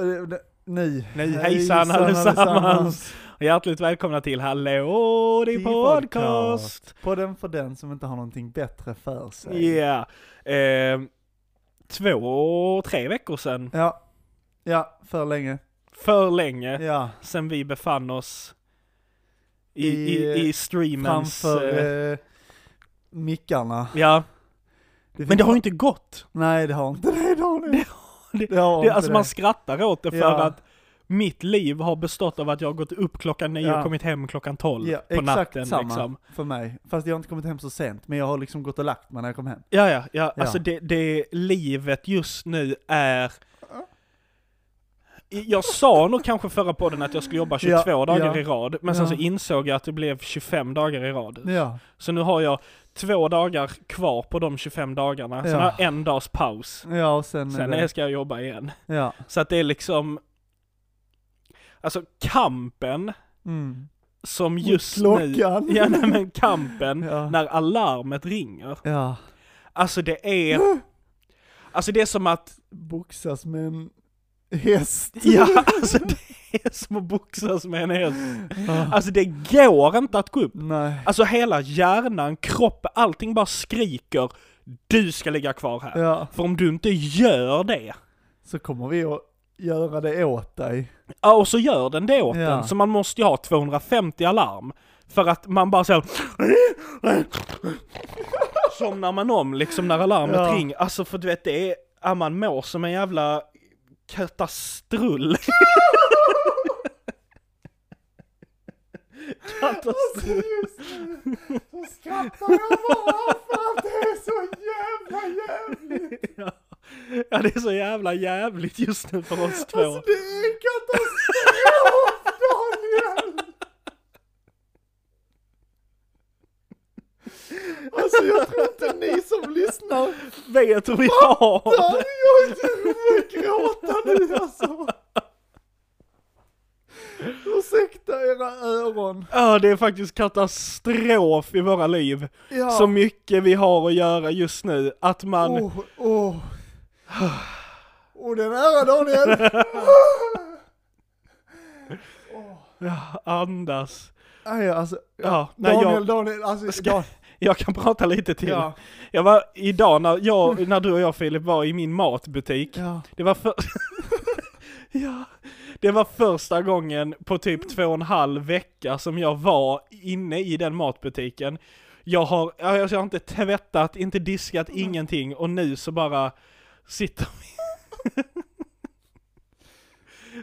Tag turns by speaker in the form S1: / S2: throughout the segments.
S1: Eh, Nej.
S2: Nej, hejsan allesammans. Hjärtligt välkomna till Hallå din
S1: Din
S2: podcast!
S1: Podden för den som inte har någonting bättre för
S2: Ja.
S1: sig.
S2: Ehm, två, tre veckor sedan.
S1: Ja. Ja, för länge.
S2: För länge
S1: Ja,
S2: sedan vi befann oss i,
S1: I, eh,
S2: i, i streamens...
S1: framför
S2: eh,
S1: eh, mickarna.
S2: ja,
S1: Det
S2: men det har ju
S1: finns-
S2: inte gått!
S1: Nej, det har inte det. Det har det.
S2: det-
S1: det har
S2: Det,
S1: inte
S2: alltså
S1: det.
S2: man skrattar åt det för
S1: Ja.
S2: att mitt liv har bestått av att jag har gått upp klockan nio
S1: Ja.
S2: och kommit hem klockan tolv
S1: Ja,
S2: på
S1: exakt
S2: natten
S1: samma
S2: liksom.
S1: för mig. Fast jag har inte kommit hem så sent, men jag har liksom gått och lagt mig när jag kom hem.
S2: Ja, ja, ja.
S1: Ja.
S2: Alltså det, det livet just nu är... Jag sa nog kanske förra podden att jag skulle jobba 22
S1: Ja,
S2: dagar
S1: ja.
S2: i rad, men sen
S1: Ja.
S2: så insåg jag att det blev 25 dagar i rad.
S1: Ja,
S2: Så nu har jag två dagar kvar på de 25 dagarna, sen
S1: Ja.
S2: har jag en dags paus.
S1: ja och sen, är
S2: Sen
S1: det,
S2: ska jag jobba igen.
S1: Ja.
S2: Så att det är liksom... Alltså kampen
S1: Mm.
S2: som
S1: Mot
S2: just nu...
S1: klockan.
S2: Ja, nej, men kampen
S1: Ja.
S2: när alarmet ringer.
S1: Ja.
S2: Alltså det är... Alltså det är som att
S1: Boxas med en häst.
S2: Ja, alltså det är som att boxas med en häst. Alltså det går inte att gå upp.
S1: Nej.
S2: Alltså hela hjärnan, kroppen, allting bara skriker Du ska ligga kvar här.
S1: Ja,
S2: För om du inte gör det,
S1: så kommer vi att göra det åt dig.
S2: ja och så gör den det åt
S1: Ja.
S2: en. Så man måste ju ha 250 alarm. För att man bara så Somnar man om liksom när alarmet
S1: Ja.
S2: ringer. Alltså för du vet det är, ja, man mår som en jävla kattastrull.
S1: Alltså just nu så skrattar jag bara för att det är så jävla jävligt.
S2: Ja. ja, det är så jävla jävligt just nu för oss två.
S1: Alltså det är katastrof Daniel! Alltså jag tror inte ni som lyssnar
S2: vet hur vi har
S1: fattar.
S2: det.
S1: Jag är inte jag gråta nu alltså. Ursäkta era öron.
S2: Ja, det är faktiskt katastrof i våra liv.
S1: Ja. Oh.
S2: Så mycket vi har att göra just nu, att man...
S1: Åh, åh. Åh, den ära Daniel!
S2: Ja, andas.
S1: Aj, alltså,
S2: Ja, nej,
S1: Daniel,
S2: jag,
S1: Daniel, alltså,
S2: Ska-
S1: Dan-
S2: jag kan prata lite till.
S1: Ja.
S2: Jag var idag när, jag, när du och jag Filip var i min matbutik.
S1: ja.
S2: Det var för... ja. Det var första gången på typ
S1: Mm.
S2: två och en halv vecka som jag var inne i den matbutiken. Jag har, ja, jag har inte tvättat, inte diskat,
S1: Mm.
S2: ingenting och nu så bara sitter vi...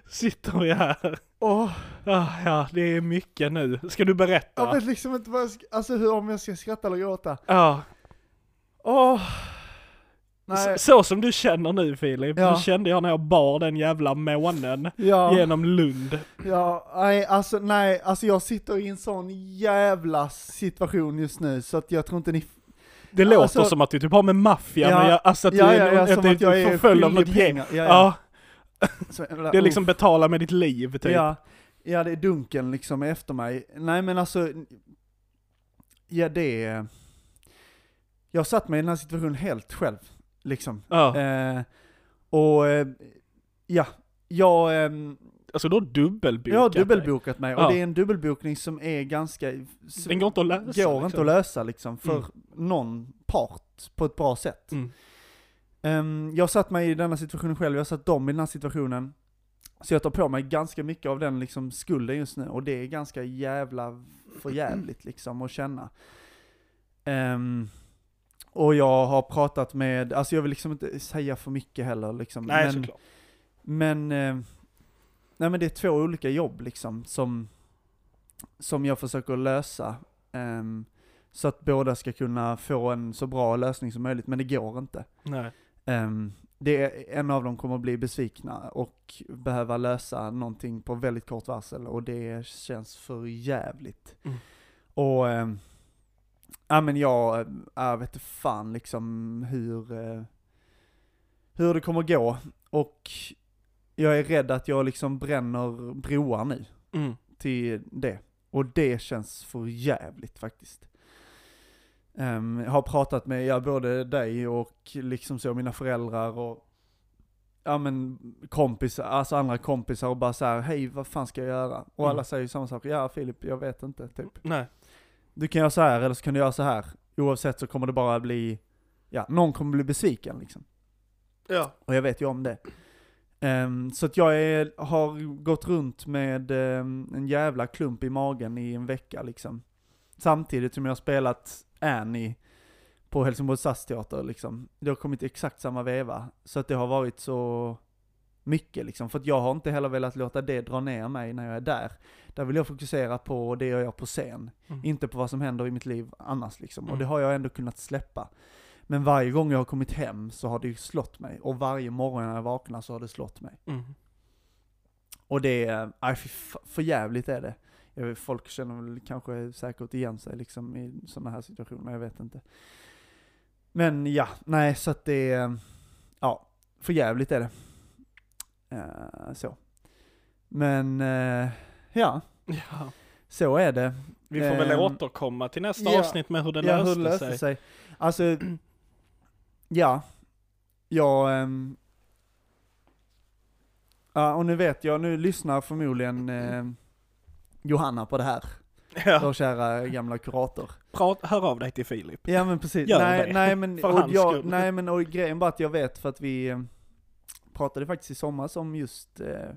S2: sitter vi här.
S1: Åh,
S2: Ah, ja, det är mycket nu. Ska du berätta?
S1: jag vet liksom inte vad jag ska, alltså hur, om jag ska skratta eller gråta.
S2: Ja.
S1: Åh.
S2: Så,
S1: Nej,
S2: så som du känner nu Filip,
S1: Ja.
S2: det kände jag när jag bar den jävla månen
S1: ja,
S2: genom Lund.
S1: ja, nej, alltså nej, alltså jag sitter i en sån jävla situation just nu så att jag tror inte ni
S2: Det
S1: Ja,
S2: låter
S1: alltså-
S2: som att du typ har med maffian
S1: Ja,
S2: och jag, alltså att
S1: Ja,
S2: du är,
S1: ja, ja,
S2: någon-
S1: som
S2: att du
S1: att jag
S2: är
S1: är
S2: förföljd av något
S1: skyldig
S2: gäng.
S1: pengar. Ja,
S2: Ja,
S1: ja. Så, jävla-
S2: det är
S1: oh.
S2: liksom betala med ditt liv typ.
S1: Ja, ja, det är dunken liksom efter mig. Nej men alltså, ja det är... Jag satt mig i den här situationen helt själv, liksom.
S2: Ja.
S1: Eh, och eh, ja, jag, ehm,
S2: Alltså du har dubbelbokat
S1: jag har
S2: dig.
S1: dubbelbokat mig och
S2: Ja.
S1: det är en dubbelbokning som är ganska... s-
S2: Den går inte att lösa.
S1: går inte
S2: liksom.
S1: att lösa liksom för
S2: Mm.
S1: någon part på ett bra sätt.
S2: Mm.
S1: Ehm, jag satt mig i denna situationen själv, jag satt dem i den här situationen. Så jag tar på mig ganska mycket av den liksom skulden just nu och det är ganska jävla förjävligt liksom att känna. Ehm, och jag har pratat med, alltså jag vill liksom inte säga för mycket heller liksom.
S2: Nej
S1: men,
S2: såklart.
S1: men, eh, nej men det är två olika jobb liksom som, som jag försöker lösa. ehm, så att båda ska kunna få en så bra lösning som möjligt, men det går inte.
S2: Nej.
S1: Ehm, det är, en av dem kommer bli besvikna och behöva lösa någonting på väldigt kort varsel och det känns för jävligt.
S2: Mm.
S1: Och, ehm, ja men jag, jag vet inte fan liksom hur, eh, hur det kommer gå och jag är rädd att jag liksom bränner broar nu
S2: Mm.
S1: till det. Och det känns för jävligt faktiskt. Ehm, jag har pratat med ja, både dig och liksom så mina föräldrar och ja men kompisar, alltså andra kompisar och bara så här, hej vad fan ska jag göra? Och alla
S2: Mm.
S1: säger ju samma sak, ja Filip, jag vet inte, typ.
S2: Nej.
S1: Du kan göra så här eller så kan du göra så här. Oavsett så kommer det bara bli, ja, någon kommer bli besviken liksom.
S2: Ja.
S1: Och jag vet ju om det. Ehm, så att jag är, har gått runt med ehm, en jävla klump i magen i en vecka liksom. Samtidigt som jag har spelat Annie på Helsingborgs stadsteater liksom. Det har kommit exakt samma veva. Så att det har varit så mycket liksom. För att jag har inte heller velat låta det dra ner mig när jag är där. Där vill jag fokusera på det jag gör på scen.
S2: Mm.
S1: Inte på vad som händer i mitt liv annars liksom. Och
S2: Mm.
S1: det har jag ändå kunnat släppa. Men varje gång jag har kommit hem så har det ju slått mig. Och varje morgon när jag vaknar så har det slått mig.
S2: Mm.
S1: Och det är, aj, fy fa- för jävligt är det. Jag vet, folk känner väl kanske säkert igen sig liksom i sådana här situationer, jag vet inte. Men ja, nej så att det är, ja, för jävligt är det. Eh, så. Men, eh, ja,
S2: Ja.
S1: så är det.
S2: Vi får väl
S1: Ehm,
S2: återkomma till nästa
S1: ja.
S2: avsnitt med hur det
S1: ja,
S2: löste,
S1: hur löste sig?
S2: sig.
S1: Alltså, ja. Jag... ehm, ja, och nu vet jag, nu lyssnar förmodligen ehm, Johanna på det här,
S2: Ja.
S1: vår kära gamla kurator.
S2: Prat, hör av dig till Filip.
S1: Ja men precis,
S2: Gör
S1: nej,
S2: det.
S1: nej men,
S2: För
S1: och
S2: hans
S1: jag,
S2: skull.
S1: nej men och grejen bara att jag vet för att vi eh, pratade faktiskt i somras om just eh,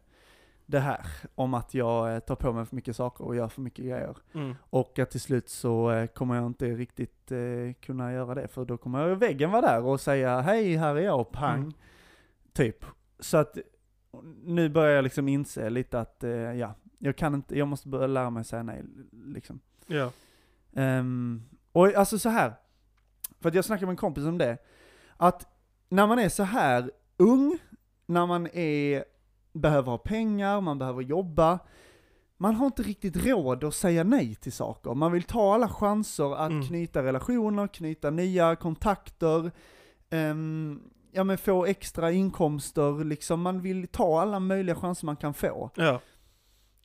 S1: det här, om att jag eh, tar på mig för mycket saker och gör för mycket grejer.
S2: Mm.
S1: Och att till slut så eh, kommer jag inte riktigt eh, kunna göra det, för då kommer väggen vara där och säga hej, här är jag, pang.
S2: Mm.
S1: Typ. Så att nu börjar jag liksom inse lite att, eh, ja, jag kan inte, jag måste börja lära mig säga nej, liksom.
S2: Ja.
S1: Ehm, och alltså så här, för att jag snackade med en kompis om det, att när man är så här ung, när man är, behöver ha pengar, man behöver jobba, man har inte riktigt råd att säga nej till saker. Man vill ta alla chanser att
S2: Mm.
S1: knyta relationer, knyta nya kontakter, ehm, ja men få extra inkomster, liksom man vill ta alla möjliga chanser man kan få.
S2: Ja.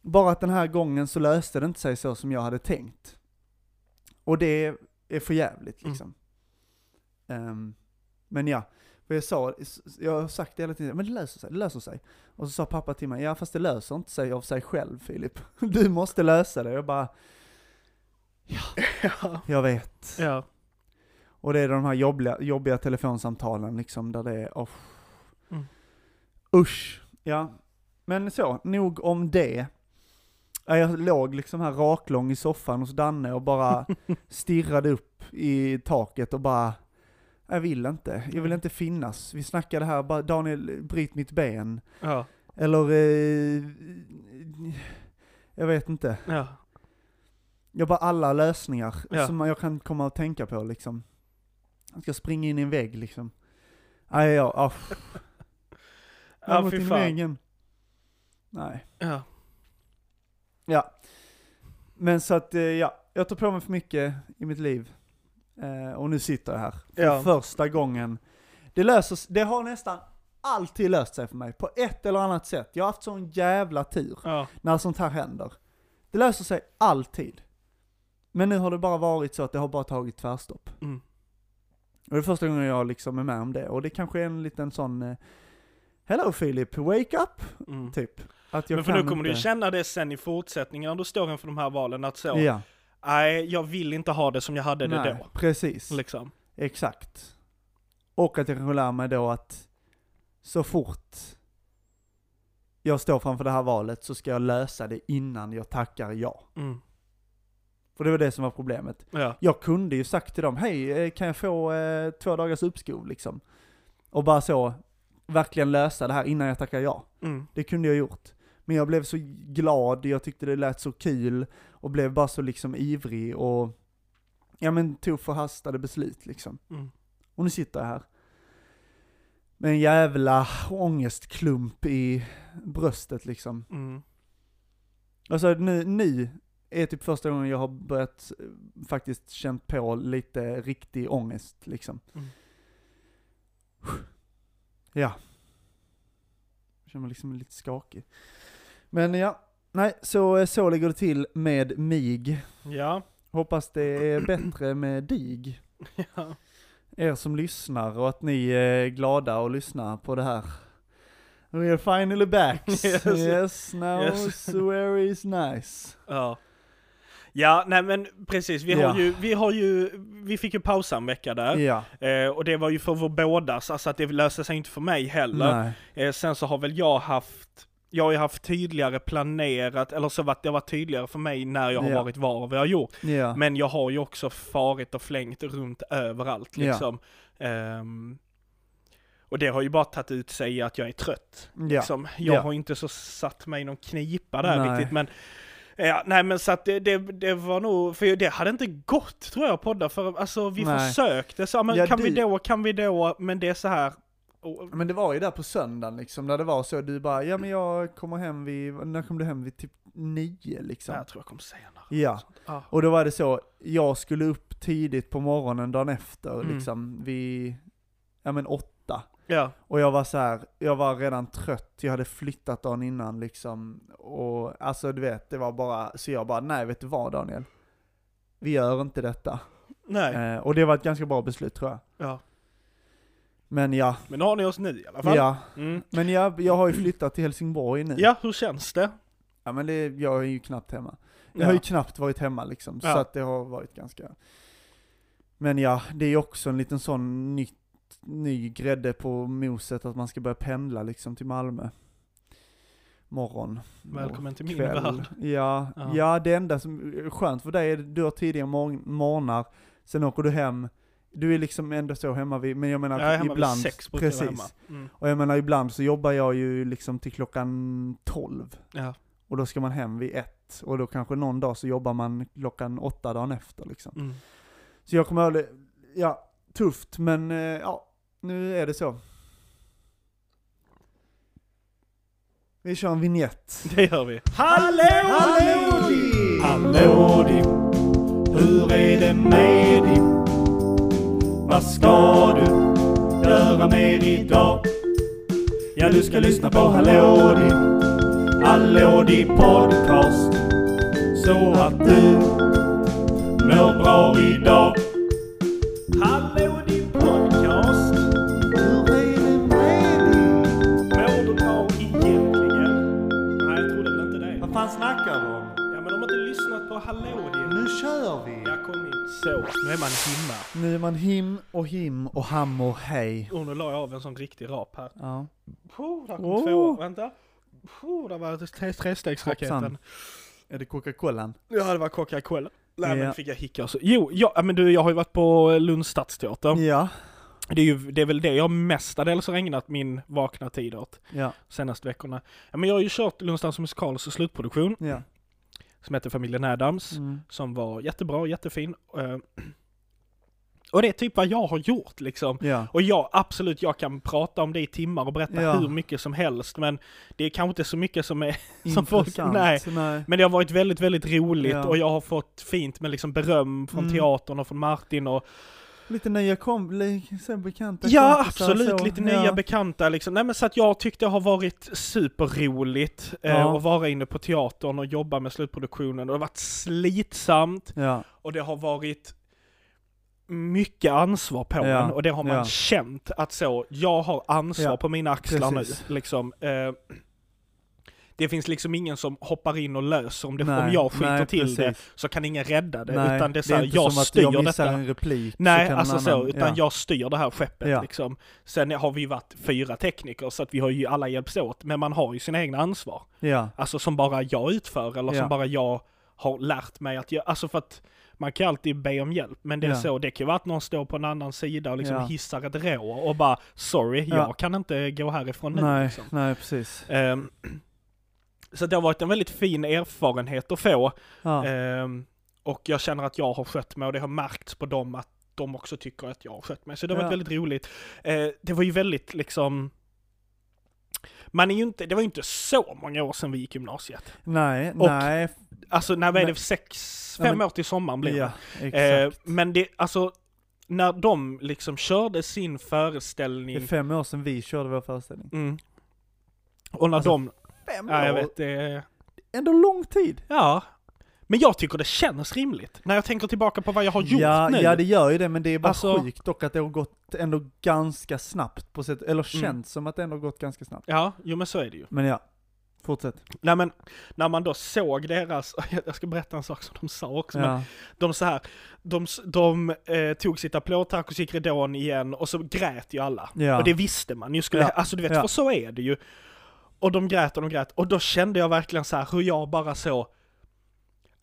S1: Bara att den här gången så löste det inte sig så som jag hade tänkt. Och det är för jävligt liksom. Ehm, men ja, för jag sa, jag har sagt det hela tiden, men det löser sig, det löser sig. Och så sa pappa till mig, ja fast det löser inte sig av sig själv Filip. Du måste lösa det. Jag bara,
S2: Ja.
S1: jag vet.
S2: Ja.
S1: Och det är de här jobbiga, jobbiga telefonsamtalen liksom, där det är, oh.
S2: Mm.
S1: Usch. Ja. Men så, nog om det. Ja, Jag låg liksom här raklång i soffan hos Danne och bara stirrade upp i taket och bara, jag vill inte, jag vill inte finnas. Vi snackade här, bara, Daniel, bryt mitt ben.
S2: Ja.
S1: Eller, eh, jag vet inte.
S2: Ja.
S1: Jag bara alla lösningar
S2: Ja.
S1: som jag kan komma att tänka på liksom. Jag ska springa in i en vägg liksom. Nej, jag, ah, jag har
S2: Ja,
S1: gått in
S2: fy
S1: i
S2: fan.
S1: väggen. Nej.
S2: Ja.
S1: Ja. Men så att, eh, ja, jag tar på mig för mycket i mitt liv. Eh, och nu sitter jag här. För
S2: Ja.
S1: första gången. Det löser s- det har nästan alltid löst sig för mig. På ett eller annat sätt. Jag har haft sån jävla tur.
S2: Ja.
S1: när sånt här händer. Det löser sig alltid. Men nu har det bara varit så att det har bara tagit tvärstopp.
S2: Mm.
S1: Och det är första gången jag liksom är med om det. Och det kanske är en liten sån eh, Hello Philip, wake up!
S2: Mm.
S1: Typ. Att jag
S2: Men för
S1: kan
S2: nu kommer du
S1: inte-
S2: ju känna det sen i fortsättningen när du står inför de här valen att så,
S1: Ja,
S2: nej jag vill inte ha det som jag hade det
S1: nej,
S2: då.
S1: precis.
S2: Liksom.
S1: Exakt. Och att jag kanske lär mig då att så fort jag står framför det här valet så ska jag lösa det innan jag tackar ja.
S2: Mm.
S1: För det var det som var problemet.
S2: Ja.
S1: Jag kunde ju sagt till dem, hej eh, kan jag få eh, två dagars uppskov liksom? Och bara så, verkligen lösa det här innan jag tackar ja.
S2: Mm.
S1: Det kunde jag gjort. Men jag blev så glad, jag tyckte det lät så kul och blev bara så liksom ivrig och ja men tog förhastade beslut liksom.
S2: Mm.
S1: Och nu sitter jag här. Med en jävla ångestklump i bröstet liksom.
S2: Mm.
S1: Alltså nu, nu är typ första gången jag har börjat eh, faktiskt känt på lite riktig ångest liksom.
S2: Mm.
S1: Ja. Jag känner mig liksom lite skakig. Men ja, nej, så, eh, så ligger det till med mig.
S2: Ja.
S1: Hoppas det är bättre med dig,
S2: Ja.
S1: er som lyssnar och att ni är glada och lyssnar på det här. We're finally back. yes.
S2: Yes.
S1: now
S2: Yes.
S1: swear is nice.
S2: Ja. Ja, nej men precis. Vi,
S1: Ja.
S2: har ju, vi, har ju, vi fick ju pausa en vecka där.
S1: Ja,
S2: Eh, och det var ju för vår bådas, alltså att det löste sig inte för mig heller.
S1: nej.
S2: Eh, sen så har väl jag haft, jag har ju haft tydligare planerat, eller så att det har varit tydligare för mig när jag har
S1: Ja.
S2: varit var och vad jag har gjort.
S1: Ja.
S2: Men jag har ju också farit och flängt runt överallt
S1: Ja.
S2: liksom. Ehm, och det har ju bara tagit ut sig i att jag är trött.
S1: ja.
S2: Liksom. Jag
S1: Ja.
S2: har inte så satt mig i någon knipa där
S1: Nej.
S2: riktigt men Ja, nej men så att det, det, det var nog, för det hade inte gått tror jag att podda för, alltså vi
S1: Nej.
S2: försökte så, ja, men
S1: Ja, Liksom.
S2: kan vi
S1: du-
S2: då, kan vi då, men det är så här. Och,
S1: Men det var ju där på söndagen liksom, där det var så, du bara, ja men jag kommer hem vid, när kom du hem vid typ nio liksom?
S2: jag tror jag kommer senare.
S1: Ja.
S2: Ja.
S1: Och då var det så, jag skulle upp tidigt på morgonen dagen efter,
S2: Mm.
S1: liksom vid, ja men åtta.
S2: Ja.
S1: Och jag var så här, jag var redan trött, jag hade flyttat dagen innan liksom. Och alltså du vet, det var bara, så jag bara, nej vet du vad Daniel? Vi gör inte detta.
S2: Nej.
S1: Eh, och det var ett ganska bra beslut tror jag.
S2: Ja.
S1: Men ja,
S2: Men nu har ni oss nu i alla fall.
S1: ja.
S2: Mm.
S1: Men jag, jag har ju flyttat till Helsingborg nu.
S2: ja hur känns det?
S1: Ja, men det, jag är ju knappt hemma. Jag
S2: Ja.
S1: har ju knappt varit hemma liksom, så
S2: Ja.
S1: att det har varit ganska... Men ja, det är ju också en liten sån nytt, ny grädde på moset att man ska börja pendla liksom till Malmö. Morgon.
S2: Välkommen till
S1: och
S2: min
S1: typ kväll.
S2: värld.
S1: Ja, ja.
S2: Ja.
S1: det enda som är skönt för dig är att du har tidiga morg- morgnar, sen åker du hem. Du är liksom ändå så hemma vid, men jag menar
S2: Jag är hemma
S1: ibland,
S2: vid sex brukar jag vara hemma.
S1: precis.
S2: Mm.
S1: Och jag menar ibland så jobbar jag ju liksom till klockan 12.
S2: Ja.
S1: Och då ska man hem vid ett. Och då kanske någon dag så jobbar man klockan åtta dagen efter liksom.
S2: Mm.
S1: Så jag kommer ihåg, ja, tufft men eh, ja, nu är det så. Vi kör en vignett.
S2: Det gör vi. Hallå! Hallå Dipp, hur är det med Dipp? Vad ska du göra mer idag? Ja, du ska lyssna på Hallå Dipp, Hallå Dipp podcast. Så att du mår bra idag. Hallå Dipp podcast, mår du bra egentligen? Nej, jag trodde väl inte det.
S1: Vad fan snackar du om?
S2: Ja, men de har inte lyssnat på Hallå Dipp.
S1: Nu kör vi!
S2: Jag kom in så. Nu är man himma.
S1: Nu är man him och him och ham och hej.
S2: Och Oh, nu la jag av en sån riktig rap här.
S1: Ja.
S2: Puh, där kom
S1: Oh.
S2: två. Vänta. Puh, där var tre- trestegsraketen.
S1: Hoppsan. Är det Coca-Colan?
S2: Ja, det var Coca-Cola. Nej
S1: Ja.
S2: men fick jag hicka så. Jo, ja men du jag har ju varit på Lunds stadsteater.
S1: Ja.
S2: Det är ju, det är väl det jag mestadels har ägnat min vakna tid åt
S1: Ja.
S2: senaste veckorna. Ja, men jag har ju kört Lunds Dans och Musikals slutproduktion
S1: Ja.
S2: som heter Familjen Addams.
S1: Mm.
S2: Som var jättebra, jättefin. Eh, Och det är typ vad jag har gjort liksom.
S1: Ja.
S2: Och ja, absolut, jag kan prata om det i timmar och berätta
S1: Ja.
S2: hur mycket som helst, men det är kanske inte så mycket som är... Som folk-
S1: Intressant.
S2: nej.
S1: nej.
S2: Men det har varit väldigt, väldigt roligt
S1: Ja.
S2: och jag har fått fint med liksom beröm från
S1: Mm.
S2: teatern och från Martin och...
S1: Lite nya kom, li- så här bekanta
S2: Ja,
S1: kompisar och
S2: absolut,
S1: så.
S2: lite
S1: Ja.
S2: nya bekanta liksom. Nej men så att jag tyckte det har varit superroligt eh,
S1: Ja.
S2: att vara inne på teatern och jobba med slutproduktionen och det har varit slitsamt
S1: Ja,
S2: och det har varit mycket ansvar på
S1: Ja.
S2: en och det har man
S1: Ja.
S2: känt att så, jag har ansvar
S1: Ja.
S2: på mina axlar
S1: Precis.
S2: nu. Liksom. Eh, det finns liksom ingen som hoppar in och löser om, det,
S1: Nej,
S2: om jag skiter
S1: nej,
S2: till det
S1: precis.
S2: så kan ingen rädda det.
S1: nej,
S2: utan det är, så
S1: det är
S2: här,
S1: inte
S2: jag
S1: som att
S2: styr
S1: jag missar
S2: detta.
S1: en replik.
S2: Nej,
S1: kan
S2: alltså
S1: någon
S2: så,
S1: annan-
S2: utan
S1: ja.
S2: jag styr det här skeppet
S1: Ja.
S2: liksom. Sen har vi ju varit fyra tekniker så att vi har ju alla hjälps åt, men man har ju sina egna ansvar.
S1: Ja,
S2: Alltså som bara jag utför eller
S1: Ja.
S2: som bara jag har lärt mig att göra. Alltså för att man kan alltid be om hjälp, men det är
S1: Ja.
S2: så, det kan ju vara att någon står på en annan sida och liksom
S1: Ja.
S2: hissar ett rå och bara sorry,
S1: Ja.
S2: jag kan inte gå härifrån nu.
S1: nej,
S2: Liksom.
S1: nej precis.
S2: Ehm, så det har varit en väldigt fin erfarenhet att få.
S1: Ja,
S2: Ehm, och jag känner att jag har skött mig och det har märkts på dem att de också tycker att jag har skött mig. Så det har
S1: Ja.
S2: varit väldigt roligt. Eh, det var ju väldigt liksom man är ju inte, det var ju inte så många år sedan vi gick gymnasiet.
S1: nej,
S2: och-
S1: nej, f-
S2: Alltså när var
S1: Men-
S2: det? Sex,
S1: Ja,
S2: fem
S1: men-
S2: år till sommaren blev det.
S1: ja,
S2: Eh,
S1: exakt.
S2: men det, alltså, när de liksom körde sin
S1: det är
S2: föreställning...
S1: fem år sedan vi körde vår föreställning.
S2: Mm, och när
S1: Alltså,
S2: de...
S1: Fem
S2: Ja, jag
S1: år?
S2: vet, det...
S1: Ändå lång tid.
S2: Ja. Men jag tycker det känns rimligt när jag tänker tillbaka på vad jag har gjort
S1: ja,
S2: nu.
S1: ja, det gör ju det, men det är bara
S2: Alltså-
S1: sjukt dock att det har gått ändå ganska snabbt på sätt, eller känns
S2: Mm.
S1: som att det ändå har gått ganska snabbt.
S2: ja, jo men så är det ju.
S1: Men ja, fortsätt.
S2: Nej men, när man då såg deras, jag ska berätta en sak som de sa också, men
S1: Ja.
S2: de så här, de, s- de eh, tog sitt applådtack och gick Redon igen och så grät ju alla.
S1: Ja.
S2: Och det visste man ju skulle,
S1: Ja.
S2: alltså du vet,
S1: Ja.
S2: för så är det ju. Och de grät och de grät, och då kände jag verkligen så här hur jag bara så,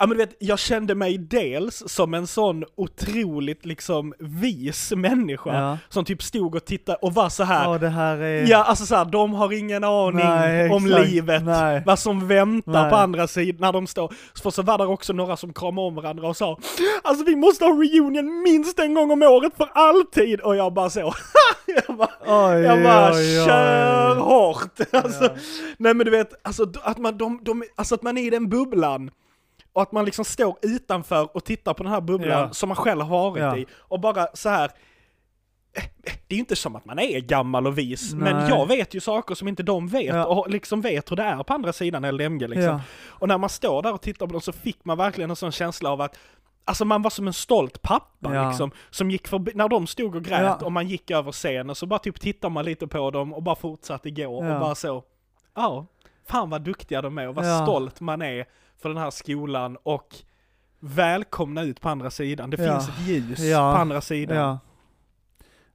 S2: ja men du vet, jag kände mig dels som en sån otroligt liksom vis människa
S1: Ja.
S2: som typ stod och tittade och var så här
S1: Ja, det här är...
S2: Ja, alltså såhär, de har ingen aning
S1: Nej,
S2: om
S1: exakt.
S2: livet,
S1: Nej.
S2: vad som väntar
S1: Nej.
S2: på andra sidan när de står. För så var det också några som kramade om varandra och sa Alltså vi måste ha reunion minst en gång om året för alltid! Och jag bara så, jag bara,
S1: Oj,
S2: jag bara
S1: oj, oj.
S2: kör hårt! Alltså,
S1: Ja.
S2: nej men du vet, alltså d- att man, de, de, alltså att man är i den bubblan och att man liksom står utanför och tittar på den här bubblan
S1: Ja.
S2: som man själv har varit
S1: Ja.
S2: i och bara så här eh, eh, det är ju inte som att man är gammal och vis, men
S1: Nej.
S2: jag vet ju saker som inte de vet
S1: Ja.
S2: och liksom vet hur det är på andra sidan LMG liksom.
S1: Ja.
S2: Och när man står där och tittar på dem så fick man verkligen en sån känsla av att Alltså man var som en stolt pappa
S1: Ja.
S2: liksom, som gick förbi, när de stod och grät
S1: Ja.
S2: och man gick över scenen så bara typ tittade man lite på dem och bara fortsatte gå
S1: Ja.
S2: och bara så, ja, fan vad duktiga de är och vad
S1: Ja.
S2: stolt man är för den här skolan och välkomna ut på andra sidan, det
S1: Ja.
S2: finns ett ljus
S1: Ja.
S2: på andra sidan.
S1: Ja.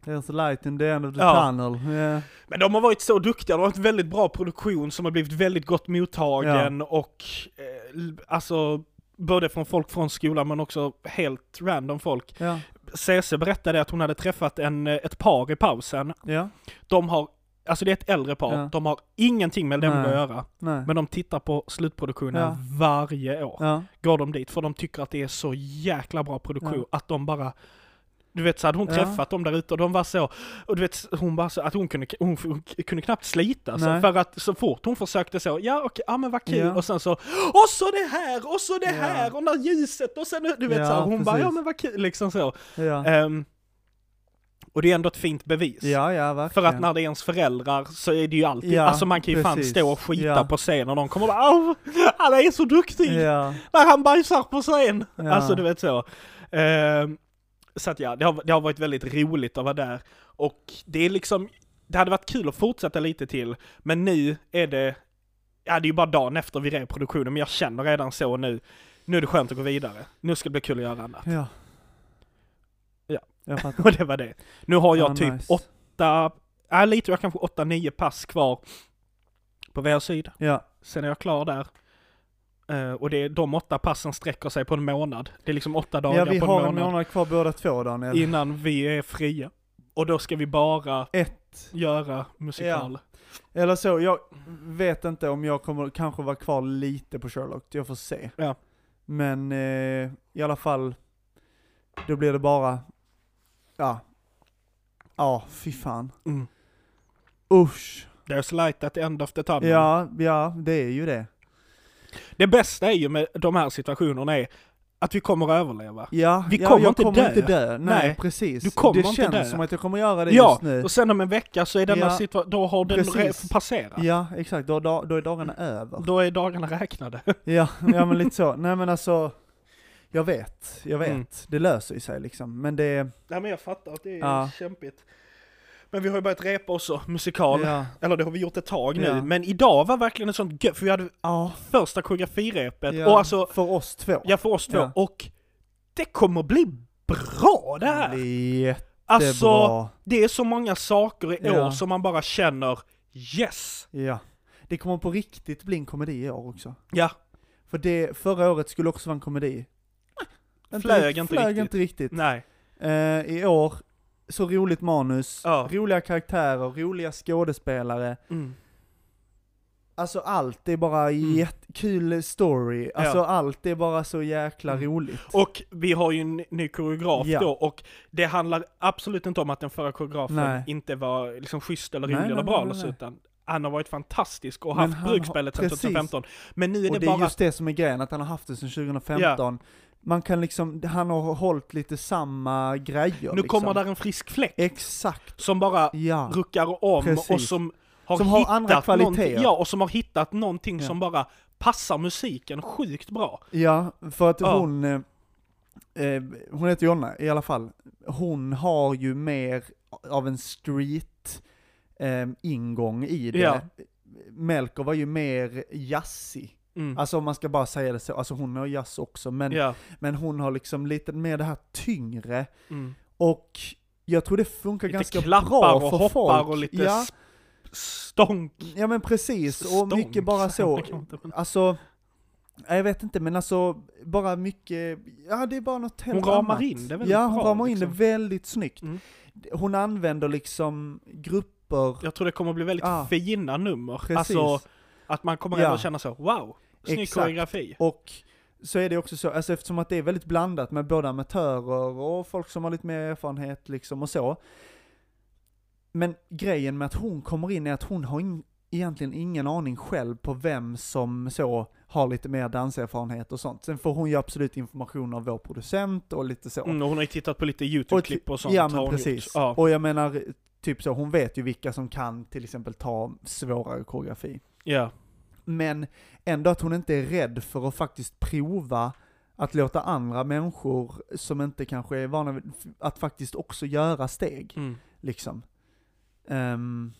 S1: There's a light in the end of the
S2: Ja.
S1: tunnel. Ja.
S2: Men de har varit så duktiga, de har varit en väldigt bra produktion som har blivit väldigt gott mottagen och eh, l- alltså både från folk från skolan men också helt random folk.
S1: Ja.
S2: CC berättade att hon hade träffat en, eh, ett par i pausen.
S1: ja.
S2: De har, alltså det är ett äldre par,
S1: Ja.
S2: de har ingenting med dem
S1: Nej.
S2: att göra.
S1: Nej.
S2: Men de tittar på slutproduktionen
S1: Ja.
S2: varje år.
S1: Ja.
S2: Går de dit för de tycker att det är så jäkla bra produktion att de bara du vet så hade hon
S1: Ja.
S2: träffat dem där ute och de var så, och du vet hon bara så att hon kunde, hon, hon kunde knappt slita sig
S1: Nej.
S2: för att så fort hon försökte så, ja okej, ja men vad kul
S1: Ja.
S2: och sen så, och så det här, och så det
S1: Ja.
S2: här, och när ljuset och sen du vet
S1: Ja,
S2: så här, hon bara
S1: precis.
S2: ja men vad kul liksom så.
S1: Ja.
S2: Ehm, och det är ändå ett fint bevis.
S1: Ja, ja,
S2: För
S1: verkligen.
S2: att när det är ens föräldrar så är det ju alltid,
S1: Ja,
S2: alltså man kan ju fan
S1: precis.
S2: stå och skita
S1: Ja.
S2: på scenen och de kommer bara "Åh, han är så duktig!
S1: Ja.
S2: När han bajsar på scen!
S1: Ja.
S2: Alltså du vet så. Ehm, så att ja, det har, det har varit väldigt roligt att vara där. Och det är liksom, det hade varit kul att fortsätta lite till, men nu är det, ja det är ju bara dagen efter vi rev produktionen, men jag känner redan så nu, nu är det skönt att gå vidare. Nu ska det bli kul att göra annat.
S1: Ja.
S2: Ja.
S1: Jag fattar.
S2: Och det var det. Nu har jag
S1: Ja,
S2: typ
S1: nice.
S2: åtta, ja lite, jag kanske åtta, nio pass kvar på vår sida.
S1: Ja.
S2: Sen är jag klar där. Eh, och det är, de åtta passen sträcker sig på en månad. Det är liksom åtta dagar
S1: ja, vi
S2: på en
S1: har en
S2: månad,
S1: månad kvar båda två Daniel.
S2: innan vi är fria. Och då ska vi bara
S1: Ett.
S2: göra musikal.
S1: Eller så, jag vet inte om jag kommer kanske vara kvar lite på Sherlock, jag får se.
S2: Ja.
S1: Men eh, i alla fall, då blir det bara, ja, ja fy fan.
S2: Mm.
S1: Usch.
S2: There's light at the end of the tunnel.
S1: Ja, ja, det är ju det.
S2: Det bästa är ju med de här situationerna är att vi kommer att överleva.
S1: Ja,
S2: Vi
S1: ja,
S2: kommer
S1: jag
S2: inte
S1: kommer
S2: dö.
S1: inte dö. Nej,
S2: Nej,
S1: precis.
S2: du kommer
S1: det
S2: inte
S1: känns
S2: dö.
S1: som att jag kommer göra det
S2: Ja,
S1: just nu.
S2: och sen om en vecka så är denna
S1: Ja.
S2: situation, då har den
S1: Precis.
S2: re- passerat.
S1: Ja, exakt. Då, då, då är dagarna över.
S2: Då är dagarna räknade.
S1: Ja, ja men lite så. Nej men alltså, jag vet, jag vet.
S2: Mm.
S1: Det löser ju sig liksom. Men det,
S2: Nej men jag fattar att det är
S1: Ja.
S2: kämpigt. Men vi har ju börjat repa också, musikal.
S1: ja.
S2: Eller det har vi gjort ett tag nu.
S1: Ja.
S2: Men idag var verkligen ett sånt gött, för vi hade
S1: Ja,
S2: första koreografirepet.
S1: ja,
S2: Och alltså,
S1: för oss två.
S2: ja för oss två.
S1: Ja.
S2: Och det kommer bli bra det här!
S1: Det är jättebra.
S2: alltså, det är så många saker i
S1: Ja.
S2: år som man bara känner yes!
S1: Ja. Det kommer på riktigt bli en komedi i år också.
S2: Ja,
S1: För det, förra året skulle också vara en komedi.
S2: Ah, Flög
S1: rikt-
S2: inte
S1: flög
S2: riktigt.
S1: inte riktigt.
S2: nej.
S1: Eh, I år, så roligt manus,
S2: Ja.
S1: roliga karaktärer, roliga skådespelare.
S2: Mm.
S1: Alltså allt är bara
S2: Mm.
S1: jättekul story, alltså allt är bara så jäkla
S2: Mm.
S1: roligt.
S2: Och vi har ju en ny koreograf
S1: Ja.
S2: då och det handlar absolut inte om att den förra koreografen
S1: Nej.
S2: inte var liksom schysst eller
S1: Nej,
S2: rolig eller
S1: nej,
S2: bra
S1: nej,
S2: eller
S1: nej,
S2: så
S1: nej.
S2: utan han har varit fantastisk och
S1: Men
S2: haft
S1: han
S2: brukspelet
S1: har-
S2: sedan
S1: precis.
S2: 2015. Men nu är det,
S1: och det
S2: bara
S1: är just det som är grejen, att han har haft det sedan 2015. Man kan liksom, han har hållit lite samma grejer.
S2: Nu
S1: liksom.
S2: kommer där en frisk fläck
S1: Exakt,
S2: som bara
S1: ja.
S2: ruckar om och
S1: Precis.
S2: som har
S1: Som har
S2: hittat
S1: andra kvaliteter.
S2: någonting, ja, och som har hittat någonting
S1: Ja.
S2: som bara passar musiken sjukt bra.
S1: Ja, för att
S2: Ja.
S1: hon, eh, eh, hon heter Jonna i alla fall. Hon har ju mer av en street eh, ingång i det.
S2: Ja.
S1: Melker var ju mer jazzig.
S2: Mm.
S1: Alltså om man ska bara säga det så, alltså hon har jazz också, men,
S2: ja.
S1: men hon har liksom lite mer det här tyngre.
S2: Mm.
S1: Och jag tror det funkar
S2: Lite
S1: ganska
S2: klappar
S1: bra
S2: och
S1: för
S2: hoppar
S1: folk.
S2: och lite
S1: ja,
S2: sp- stånk.
S1: ja men precis, och
S2: stånk.
S1: mycket bara så.
S2: Jag kan inte, men-
S1: Alltså, nej, jag vet inte men alltså, bara mycket, ja det är bara något helt
S2: Hon ramar
S1: annat.
S2: in det väldigt
S1: Ja, hon
S2: bra,
S1: ramar in
S2: liksom.
S1: det väldigt snyggt.
S2: Mm.
S1: Hon använder liksom grupper,
S2: Jag tror det kommer bli väldigt
S1: Ah.
S2: fina nummer.
S1: precis.
S2: Alltså att man kommer
S1: Ja.
S2: ändå känna så, wow, snygg
S1: Exakt.
S2: koreografi.
S1: Och så är det också så, alltså eftersom att det är väldigt blandat med både amatörer och folk som har lite mer erfarenhet liksom och så. Men grejen med att hon kommer in är att hon har in, egentligen ingen aning själv på vem som så har lite mer danserfarenhet och sånt. Sen får hon ju absolut information av vår producent och lite så.
S2: Mm, och hon har ju tittat på lite YouTube-klipp och sånt.
S1: Ja
S2: har
S1: men
S2: hon
S1: precis.
S2: gjort. Ja,
S1: Och jag menar, typ så, hon vet ju vilka som kan till exempel ta svårare koreografi.
S2: ja. Mm.
S1: Men ändå att hon inte är rädd för att faktiskt prova att låta andra människor som inte kanske är vana vid, att faktiskt också göra steg,
S2: Mm.
S1: liksom. Ehm,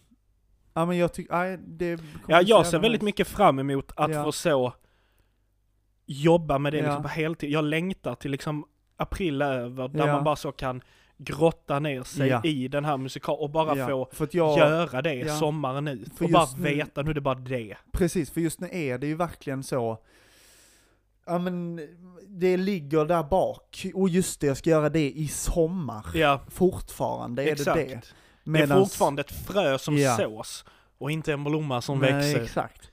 S1: ja men jag tycker, nej det... kommer
S2: ja
S1: bli så
S2: jag ser
S1: jävla
S2: väldigt
S1: nice.
S2: mycket fram emot att
S1: Ja.
S2: få så jobba med det
S1: Ja.
S2: liksom på heltid. Jag längtar till liksom april över där
S1: Ja.
S2: man bara så kan grotta ner sig
S1: Ja.
S2: i den här musikalen och bara
S1: Ja,
S2: få
S1: För att jag,
S2: göra det
S1: Ja.
S2: sommaren ut.
S1: För
S2: och bara
S1: just nu-
S2: veta, nu är det bara det.
S1: precis, för just nu är det ju verkligen så, ja men det ligger där bak, och just det, jag ska göra det i sommar.
S2: Ja,
S1: Fortfarande är
S2: exakt.
S1: det det.
S2: Det är
S1: Medans-
S2: fortfarande ett frö som
S1: Ja.
S2: sås och inte en blomma som
S1: Nej,
S2: växer.
S1: exakt.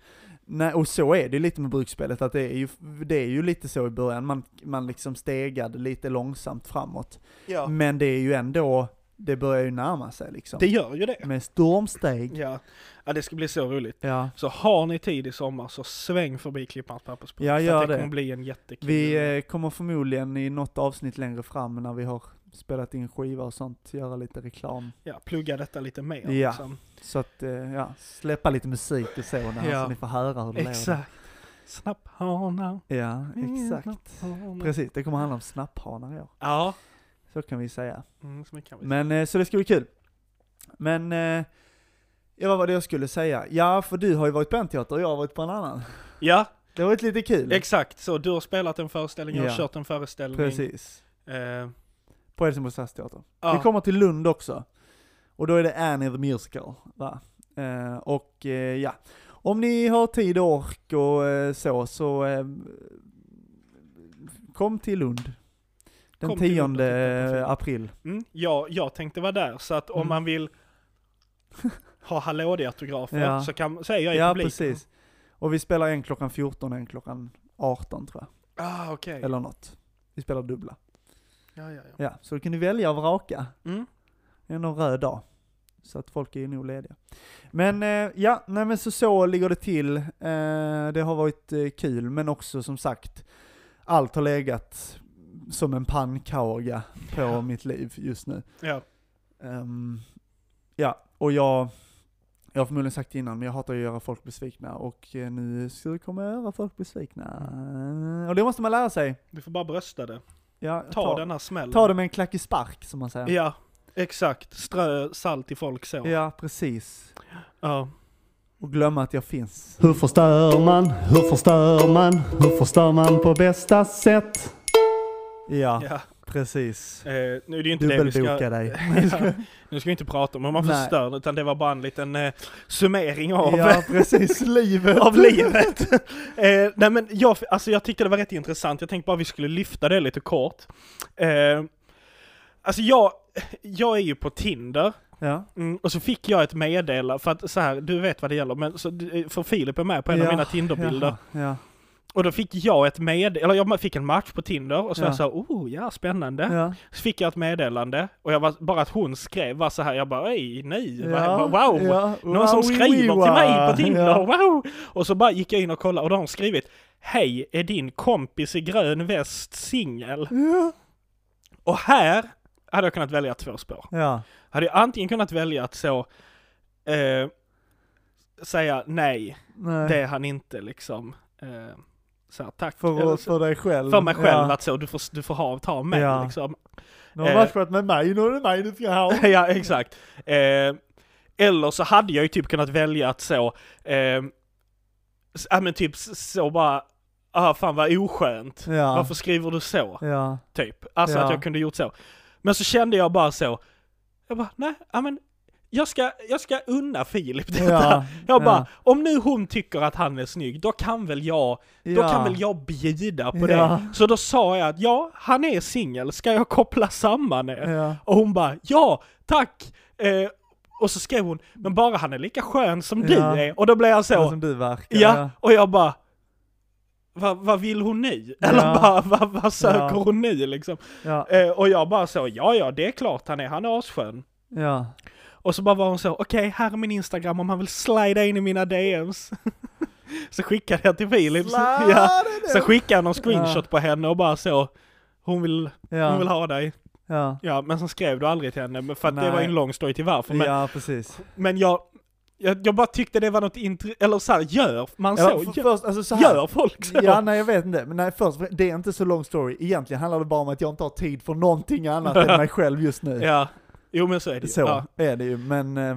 S1: Nej, och så är det lite med bruksspelet, att det är ju, det är ju lite så i början, man, man liksom stegade lite långsamt framåt.
S2: Ja.
S1: Men det är ju ändå, det börjar ju närma sig liksom.
S2: Det gör ju det.
S1: Med stormsteg.
S2: Ja. ja, det ska bli så roligt.
S1: Ja.
S2: Så har ni tid i sommar så sväng förbi Klippans pappersbruk.
S1: Ja,
S2: för att
S1: gör
S2: det.
S1: det.
S2: kommer bli en jättekul...
S1: Vi eh, kommer förmodligen i något avsnitt längre fram när vi har spelat in skiva och sånt, göra lite reklam.
S2: Ja, plugga detta lite mer.
S1: Ja.
S2: Liksom.
S1: Så att, eh, ja, släppa lite musik och så, när,
S2: Ja.
S1: så ni får höra hur det
S2: Exakt. Mm, Snapphana.
S1: låter. Ja, exakt. Precis, det kommer handla om snapphanar i år.
S2: Ja,
S1: Så kan vi säga.
S2: mm, så mycket kan vi säga.
S1: Men eh, så det ska bli kul. Men, eh, ja vad var det jag skulle säga? Ja, för du har ju varit på en teater och jag har varit på en annan.
S2: Ja,
S1: Det har varit lite kul.
S2: exakt. Så du har spelat en föreställning, jag har
S1: Ja.
S2: kört en föreställning.
S1: Precis.
S2: Eh, ja.
S1: På Helsingborgs stadsteater. Vi kommer till Lund också. Och då är det Annie the Musical, va? Eh, och eh, ja, om ni har tid och ork och eh, så, så eh, kom till Lund. Den
S2: Kom till Lund och
S1: 10
S2: titta på film.
S1: april.
S2: Mm, ja, jag tänkte vara där, så att om
S1: Mm.
S2: man vill ha hallådiatografer
S1: Ja.
S2: så kan, säger jag i
S1: Ja,
S2: publiken.
S1: precis. Och vi spelar en klockan 14 och en klockan 18 tror jag.
S2: Ah, okej.
S1: Eller något. Vi spelar dubbla.
S2: Ja, ja, ja.
S1: Ja, så du kan du välja och vraka.
S2: Mm.
S1: Det är någon röd dag. Så att folk är ju nog lediga. Men eh, ja, nej men så så ligger det till. Eh, det har varit eh, kul, men också som sagt, allt har legat som en pannkaka på
S2: Ja.
S1: mitt liv just nu.
S2: ja.
S1: Ehm, ja, och jag, jag har förmodligen sagt det innan, men jag hatar ju att göra folk besvikna och eh, nu ska jag komma och göra folk besvikna. Och det måste man lära sig.
S2: Du får bara brösta det.
S1: Ja,
S2: Mm. Ta, den här smällen.
S1: Ta det med en klack i spark som man säger.
S2: Ja, exakt. Strö salt i folk så.
S1: Ja, precis.
S2: Ja.
S1: Och glömma att jag finns.
S3: Hur förstör man? Hur förstör man? Hur förstör man på bästa sätt?
S1: Ja,
S2: Ja.
S1: precis.
S2: Eh, nu är det ju inte det vi
S1: Dubbelboka
S2: ska...
S1: dig.
S2: Ja. Nu ska vi inte prata om hur man
S1: Nej.
S2: förstör, utan det var bara en liten eh, summering av,
S1: Ja, precis. Livet.
S2: av livet. eh, nej men jag, alltså jag tyckte det var rätt intressant, jag tänkte bara vi skulle lyfta det lite kort. Eh, alltså jag, jag är ju på Tinder,
S1: Ja,
S2: Mm, och så fick jag ett meddelande, för att så här, du vet vad det gäller, men så, för Filip är med på en av
S1: Ja,
S2: mina Tinderbilder.
S1: jaha, ja,
S2: Och då fick jag ett med, eller jag fick en match på Tinder och så
S1: Ja.
S2: jag sa oh ja, spännande.
S1: ja.
S2: Så fick jag ett meddelande och jag var, bara att hon skrev var så här, jag bara ej, nej, vad-
S1: ja,
S2: vad- wow!
S1: ja.
S2: Någon
S1: Wow,
S2: som
S1: wee,
S2: skriver
S1: wee,
S2: till
S1: wow.
S2: mig på Tinder,
S1: Ja.
S2: wow! Och så bara gick jag in och kollade och då har hon skrivit Hej, är din kompis i grön väst singel?
S1: Ja.
S2: Och här hade jag kunnat välja två spår.
S1: Ja.
S2: Hade jag antingen kunnat välja att så eh, säga nej,
S1: Nej.
S2: det är han inte liksom. Eh, så här, tack.
S1: För,
S2: Eller
S1: att-
S2: så-
S1: för dig själv.
S2: för mig själv
S1: Ja.
S2: att så, du får, du får ha, ta med
S1: Ja.
S2: liksom.
S1: Nu har du
S2: eh,
S1: matchat med mig, nu är det mig du ska ha.
S2: ja, exakt. Eh, eller så hade jag ju typ kunnat välja att så, eh, s- ja men typ s- så bara, ah fan vad oskönt.
S1: Ja.
S2: Varför skriver du så?
S1: Ja.
S2: Typ. Alltså
S1: Ja.
S2: att jag kunde gjort så. Men så kände jag bara så, jag bara, nej, ja men jag ska, jag ska unna Filip detta.
S1: Ja.
S2: Jag bara,
S1: Ja.
S2: om nu hon tycker att han är snygg, då kan väl jag, då
S1: Ja.
S2: kan väl jag bjuda på
S1: Ja.
S2: det. Så då sa jag att ja, han är singel, ska jag koppla samman er?
S1: Ja.
S2: Och hon bara ja, tack! Eh, och så skrev hon, men bara han är lika skön som
S1: Ja.
S2: du är. Och då blev jag så,
S1: Så. Som du verkar.
S2: ja, och jag bara, vad vad vill hon nu? Eller bara, vad vad söker
S1: Ja.
S2: hon nu liksom?
S1: Ja.
S2: Eh, och jag bara så, ja ja, det är klart han är, han är asskön.
S1: Ja.
S2: Och så bara var hon så, okej här är min Instagram om han vill slida in i mina DMs. så skickade jag till Filip, så, ja, så skickade jag någon screenshot på henne och bara så, hon vill,
S1: Ja.
S2: hon vill ha dig.
S1: Ja.
S2: Ja, men sen skrev du aldrig till henne, men för att det
S1: Nej.
S2: var ju en lång story till varför. Men,
S1: ja, precis.
S2: men jag, jag, jag bara tyckte det var något intre- eller så här, gör man så?
S1: Eller, för,
S2: gör,
S1: först, alltså så här.
S2: gör folk så?
S1: Ja, nej jag vet inte. Men nej, först, det är inte så lång story. Egentligen handlar det bara om att jag inte har tid för någonting annat än mig själv just nu.
S2: ja. Jo men så är det ju.
S1: Så
S2: Ja.
S1: är det ju, men, eh,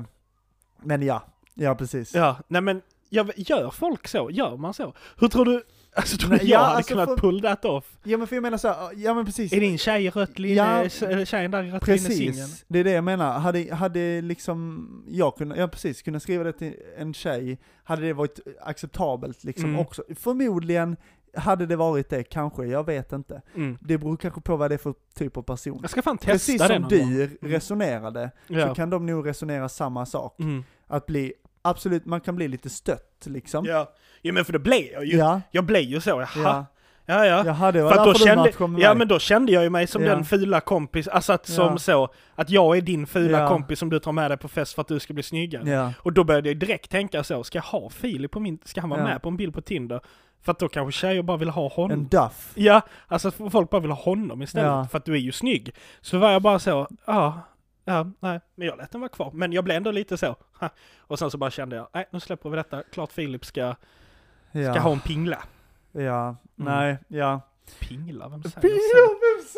S1: men ja. Ja, precis.
S2: ja, nej men, jag, gör folk så? Gör man så? Hur tror du, alltså tror du
S1: Nej,
S2: jag
S1: ja,
S2: hade
S1: alltså,
S2: kunnat
S1: för-
S2: pull that off?
S1: Ja, men för jag menar så här, ja men precis.
S2: Är din tjej i rött
S1: Ja,
S2: linje, ja, tjejen där i rött linje singeln?
S1: Precis, det är det jag menar. Hade, hade liksom jag kunnat, ja precis, kunnat skriva det till en tjej, hade det varit acceptabelt liksom
S2: Mm.
S1: också. Förmodligen hade det varit det, kanske, jag vet inte.
S2: Mm.
S1: Det beror kanske på vad det är för typ av person.
S2: Jag ska fan testa
S1: Precis
S2: det
S1: som
S2: någon gång. Mm.
S1: du resonerade, så
S2: Ja.
S1: kan de nog resonera samma sak.
S2: Mm.
S1: Att bli, absolut, man kan bli lite stött liksom.
S2: Ja. Jo men för det blev jag ju.
S1: Ja,
S2: Jag blev ju så, jaha.
S1: ja.
S2: Ja, ja.
S1: Jaha, det var
S2: För att då
S1: därför du
S2: kände,
S1: matchade med
S2: ja
S1: mig.
S2: men då kände jag ju mig som
S1: Ja.
S2: den fula kompis, alltså att, som
S1: Ja.
S2: så, att jag är din fula
S1: Ja.
S2: kompis som du tar med dig på fest för att du ska bli snyggare.
S1: Ja,
S2: Och då började jag direkt tänka så, ska jag ha Filip på min, ska han vara
S1: Ja.
S2: med på en bild på Tinder? För att då kanske tjejer bara vill ha honom.
S1: en duff.
S2: Ja, alltså att folk bara vill ha honom istället,
S1: Ja.
S2: för att du är ju snygg. Så var jag bara så, ja, ja, nej, men jag lät den vara kvar. Men jag blev ändå lite så, ha. Och sen så bara kände jag, nej nu släpper vi detta, klart Filip ska,
S1: Ja,
S2: ska ha Mm. en pingla.
S1: ja. nej, ja.
S2: Pingla, vem säger så?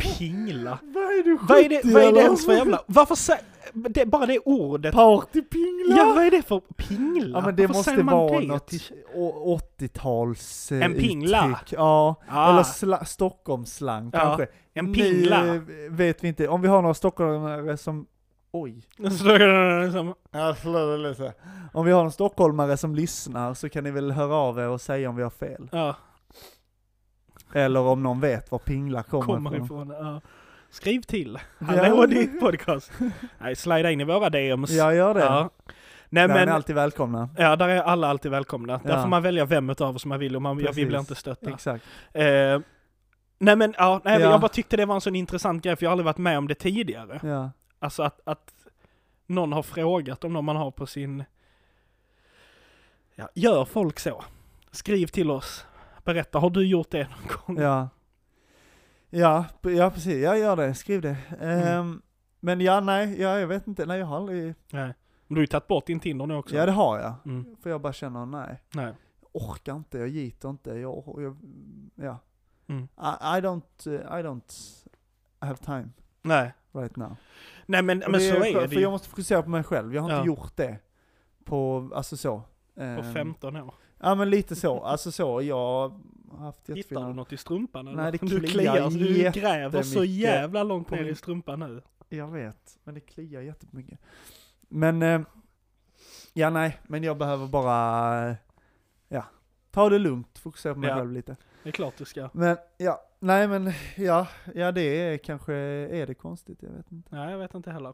S1: Pingla,
S2: Pingla?
S1: Vad är du
S2: Vad är det, vad är det ens för
S1: eller?
S2: jävla... Varför säger... Det, bara det ordet.
S1: Partypingla!
S2: Ja, vad är det för pingla?
S1: Ja men det
S2: Varför
S1: måste
S2: säger man
S1: vara
S2: det
S1: något
S2: till-
S1: å- 80-tals eh,
S2: En pingla.
S1: uttryck. Ja,
S2: Ah.
S1: eller sla- Stockholmsslang
S2: Ja,
S1: kanske.
S2: En
S1: Nu,
S2: pingla.
S1: eh, vet vi inte, om vi har några stockholmare som... Oj.
S2: Så då är det liksom-
S1: Om vi har någon stockholmare som lyssnar så kan ni väl höra av er och säga om vi har fel.
S2: Ja,
S1: Eller om någon vet var pingla kommer,
S2: kommer ifrån. Ja. Skriv till.
S1: Ja.
S2: Hallå ditt podcast. Nej, slida in i våra DMs.
S1: Ja, gör det.
S2: Ja. Nej
S1: Där är
S2: men,
S1: ni alltid välkomna.
S2: ja där är alla alltid välkomna. Där
S1: Ja.
S2: får man välja vem utav oss man vill och man, jag
S1: Precis.
S2: vill inte stötta.
S1: Exakt.
S2: Eh, nej men, ja, nej, men
S1: Ja.
S2: jag bara tyckte det var en sån intressant grej för jag har aldrig varit med om det tidigare.
S1: Ja.
S2: Alltså att, att någon har frågat om någon man har på sin... Ja, gör folk så? Skriv till oss. Berätta, har du gjort det någon gång?
S1: Ja. Ja, p- ja precis. Jag gör det. Skriv det.
S2: Mm.
S1: Ehm, Men ja, nej, ja, jag vet inte. Nej, jag har aldrig...
S2: Nej. Men du har ju tagit bort din Tinder nu också.
S1: Ja, det har jag.
S2: Mm.
S1: För jag bara känner, nej.
S2: Nej.
S1: Orkar inte, jag giter inte. Jag, jag ja.
S2: Mm.
S1: I, I don't, eh, I don't have time
S2: Nej.
S1: right now.
S2: Nej men,
S1: Och
S2: men så är
S1: skönt,
S2: det
S1: För jag
S2: ju.
S1: måste fokusera på mig själv. Jag har inte
S2: Ja.
S1: gjort det på, alltså så.
S2: På
S1: Ehm,
S2: 15 år.
S1: Ja men lite så, alltså så. Jag har haft
S2: Hittar du
S1: jättefina...
S2: något i strumpan eller?
S1: Nej, det
S2: du
S1: kliar
S2: kliar, så du
S1: jättemycket
S2: gräver så jävla långt
S1: på
S2: ner i
S1: min-
S2: strumpan nu.
S1: Jag vet, men det kliar jättemycket. Men, eh, ja nej, men jag behöver bara, eh, ja, ta det lugnt, fokusera på mig
S2: Ja.
S1: själv lite.
S2: Det är klart du ska.
S1: Men, ja, nej men, ja, ja det är kanske, är det konstigt, jag vet inte.
S2: Nej, jag vet inte heller.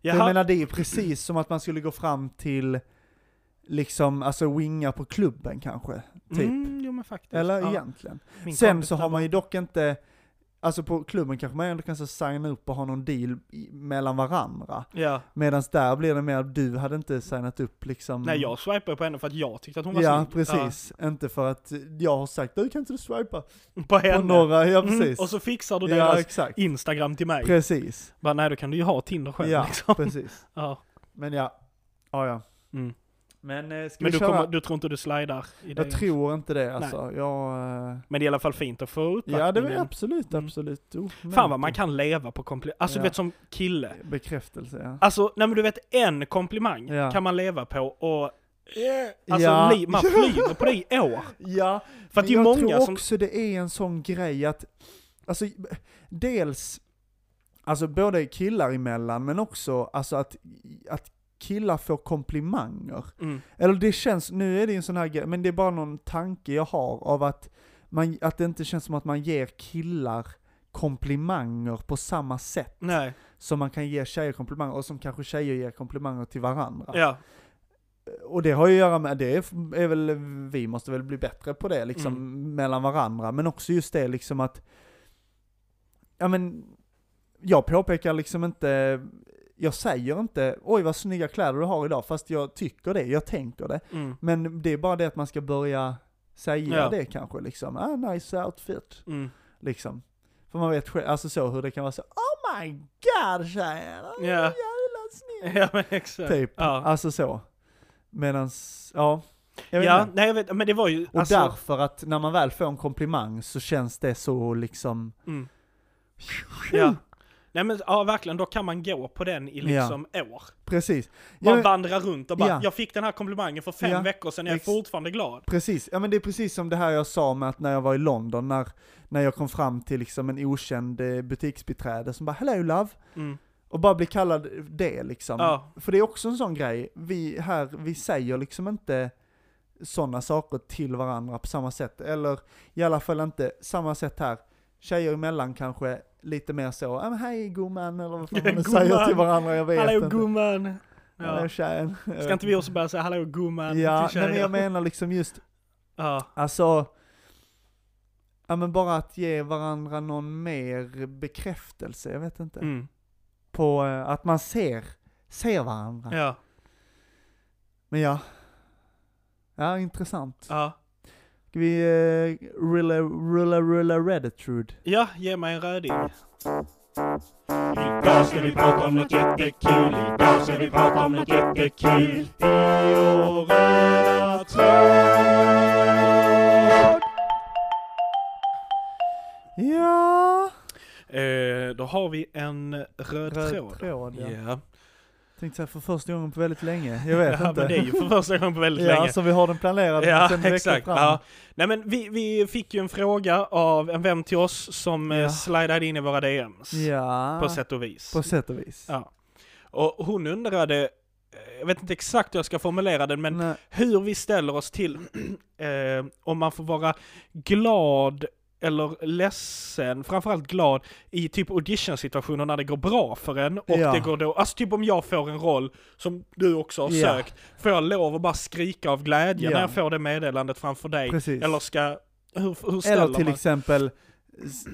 S1: Jag
S2: Jaha.
S1: menar det är precis som att man skulle gå fram till, liksom, alltså winga på klubben kanske, typ.
S2: Mm, jo men faktiskt.
S1: Eller
S2: Ja,
S1: egentligen.
S2: min
S1: Sen
S2: kompis
S1: så
S2: där
S1: har
S2: bara-
S1: man ju dock inte, alltså på klubben kanske man ändå kan så signa upp och ha någon deal i, mellan varandra.
S2: Ja.
S1: Medan där blir det mer att du hade inte signat upp liksom.
S2: Nej jag swipade på henne för att jag tyckte att hon var
S1: Ja,
S2: snygg.
S1: precis. Inte för att jag har sagt du kan inte du swipa
S2: Ja, på
S1: på
S2: henne.
S1: några, ja precis.
S2: Mm, och så fixar du
S1: ja,
S2: deras
S1: exakt.
S2: Instagram till mig.
S1: Precis.
S2: Bara, nej då kan du ju ha Tinder själv
S1: Ja,
S2: liksom.
S1: precis.
S2: Ja.
S1: Men ja, ja ja.
S2: Mm.
S1: Men eh, ska
S2: Men
S1: vi
S2: du,
S1: köra?
S2: kommer, du tror inte du slidar i det?
S1: jag tror inte det alltså. Jag, eh,
S2: Men det är i alla fall fint att få utbackningen.
S1: ja det är absolut,
S2: Mm.
S1: absolut. Oh,
S2: Fan vad man kan leva på komplimang. Alltså
S1: Ja.
S2: du vet som kille.
S1: Bekräftelse ja.
S2: Alltså, nej men du vet en komplimang
S1: Ja.
S2: kan man leva på och Alltså
S1: Ja.
S2: li, man flyger på det i år.
S1: Ja,
S2: För att det är
S1: jag
S2: många
S1: tror
S2: som...
S1: också det är en sån grej att, alltså dels, alltså både killar emellan men också alltså att, att killar får komplimanger.
S2: Mm,
S1: Eller det känns, nu är det ju en sån här grej, men det är bara någon tanke jag har av att, man, att det inte känns som att man ger killar komplimanger på samma sätt
S2: nej,
S1: som man kan ge tjejer komplimanger och som kanske tjejer ger komplimanger till varandra.
S2: ja.
S1: Och det har ju att göra med, det är, är väl, vi måste väl bli bättre på det liksom
S2: Mm.
S1: mellan varandra, men också just det liksom att, ja men, jag påpekar liksom inte, jag säger inte oj vad snygga kläder du har idag, fast jag tycker det, jag tänker det.
S2: Mm,
S1: Men det är bara det att man ska börja säga
S2: Ja.
S1: det kanske liksom, ah nice outfit,
S2: mm.
S1: liksom. För man vet själv, alltså så hur det kan vara så, oh my god tjejen, oh, jävla
S2: Ja.
S1: snygg.
S2: Ja men exakt.
S1: Typ,
S2: Ja.
S1: alltså så. Medans, ja. Jag vet
S2: Ja,
S1: inte.
S2: nej jag vet, men det var ju...
S1: Och
S2: alltså,
S1: därför att när man väl får en komplimang så känns det så liksom,
S2: Mm. Ja. Nej men ja, verkligen, då kan man gå på den i liksom år.
S1: precis.
S2: Man
S1: Ja,
S2: vandrar runt och bara,
S1: Ja.
S2: jag fick den här komplimangen för fem
S1: Ja.
S2: veckor sedan, jag är
S1: Ex-
S2: fortfarande glad.
S1: Precis, ja men det är precis som det här jag sa med att när jag var i London, när, när jag kom fram till liksom en okänd eh, butiksbiträde som bara “Hello love”
S2: Mm.
S1: och bara bli kallad det liksom.
S2: Ja.
S1: För det är också en sån grej, vi här, vi säger liksom inte sådana saker till varandra på samma sätt, eller i alla fall inte samma sätt här. Tjejer emellan kanske lite mer så, "Ja, men hej gumman, eller vad fan man nu
S2: Gumman.
S1: säger till varandra, jag vet
S2: Hallå
S1: inte.
S2: gumman!
S1: Hallå
S2: Ja.
S1: tjejen. Jag
S2: Ska
S1: vet
S2: inte vi också börja säga hallå gumman
S1: Ja,
S2: till
S1: nej, men
S2: tjejer?
S1: jag menar liksom just
S2: Ja.
S1: Alltså, ja men bara att ge varandra någon mer bekräftelse, jag vet inte.
S2: Mm.
S1: På eh, att man ser, ser varandra.
S2: Ja.
S1: Men ja. Ja, intressant.
S2: ja.
S1: Ska vi eh, rulla, rulla, rulla Redditrude?
S2: Ja, ge mig en röding.
S4: Idag ska vi prata om något jättekul. Idag ska vi prata om något jättekul. I vår röda tråd.
S1: Ja!
S2: Eh, då har vi en röd,
S1: Röd
S2: tråd.
S1: tråd, ja.
S2: Ja.
S1: Tänkte säga för första gången på väldigt länge, jag vet
S2: ja,
S1: inte.
S2: men det är ju för första gången på väldigt
S1: ja,
S2: länge.
S1: så vi har den planerad
S2: Ja,
S1: sen veckan
S2: exakt.
S1: fram.
S2: Ja. Nej men vi, vi fick ju en fråga av en vän till oss som
S1: Ja.
S2: ja. slidade in i våra DMs.
S1: ja.
S2: På sätt och vis.
S1: på sätt och vis.
S2: Ja. Och hon undrade, eh, jag vet inte exakt hur jag ska formulera den, men
S1: Nej,
S2: hur vi ställer oss till eh, om man får vara glad eller ledsen, framförallt glad i typ audition-situationer när det går bra för en och
S1: Ja.
S2: det går då, alltså typ om jag får en roll som du också har
S1: Ja.
S2: sökt, får jag lov att bara skrika av glädje
S1: Ja.
S2: när jag får det meddelandet framför dig?
S1: precis.
S2: Eller ska, hur, hur ställer
S1: Eller till
S2: man?
S1: exempel s-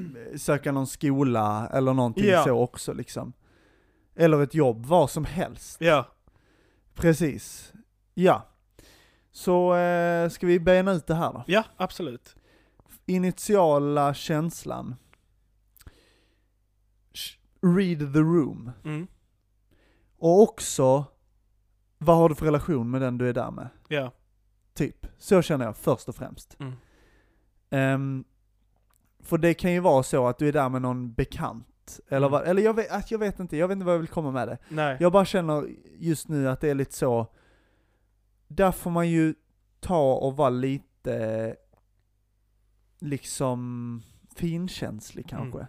S1: söka någon skola eller någonting
S2: Ja.
S1: så också liksom. Eller ett jobb, vad som helst.
S2: Ja,
S1: Precis. Ja. Så eh, ska vi bena ut det här då.
S2: ja absolut.
S1: Initiala känslan. Sh- Read the room.
S2: Mm.
S1: Och också, vad har du för relation med den du är där med?
S2: Ja.
S1: Typ. Så känner jag först och främst.
S2: Mm.
S1: Ehm, för det kan ju vara så att du är där med någon bekant. Eller,
S2: Mm.
S1: vad, eller jag, vet, att jag vet inte, jag vet inte vad jag vill komma med det.
S2: Nej.
S1: Jag bara känner just nu att det är lite så, där får man ju ta och vara lite liksom finkänslig
S2: Mm.
S1: kanske.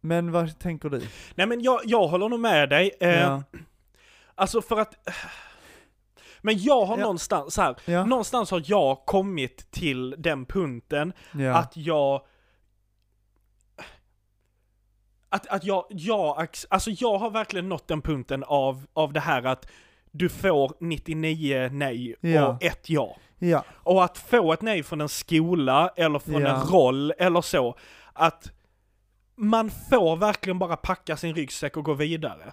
S1: Men vad tänker du?
S2: Nej men jag, jag håller nog med dig. Eh,
S1: ja.
S2: Alltså för att... Men jag har
S1: Ja.
S2: någonstans, så här,
S1: Ja.
S2: någonstans har jag kommit till den punkten
S1: ja.
S2: att jag... Att, att jag, jag, ax- alltså jag har verkligen nått den punkten av, av det här att du får 99 nej och
S1: Ja.
S2: ett ja.
S1: ja.
S2: Och att få ett nej från en skola eller från
S1: Ja.
S2: en roll eller så, att man får verkligen bara packa sin ryggsäck och gå vidare.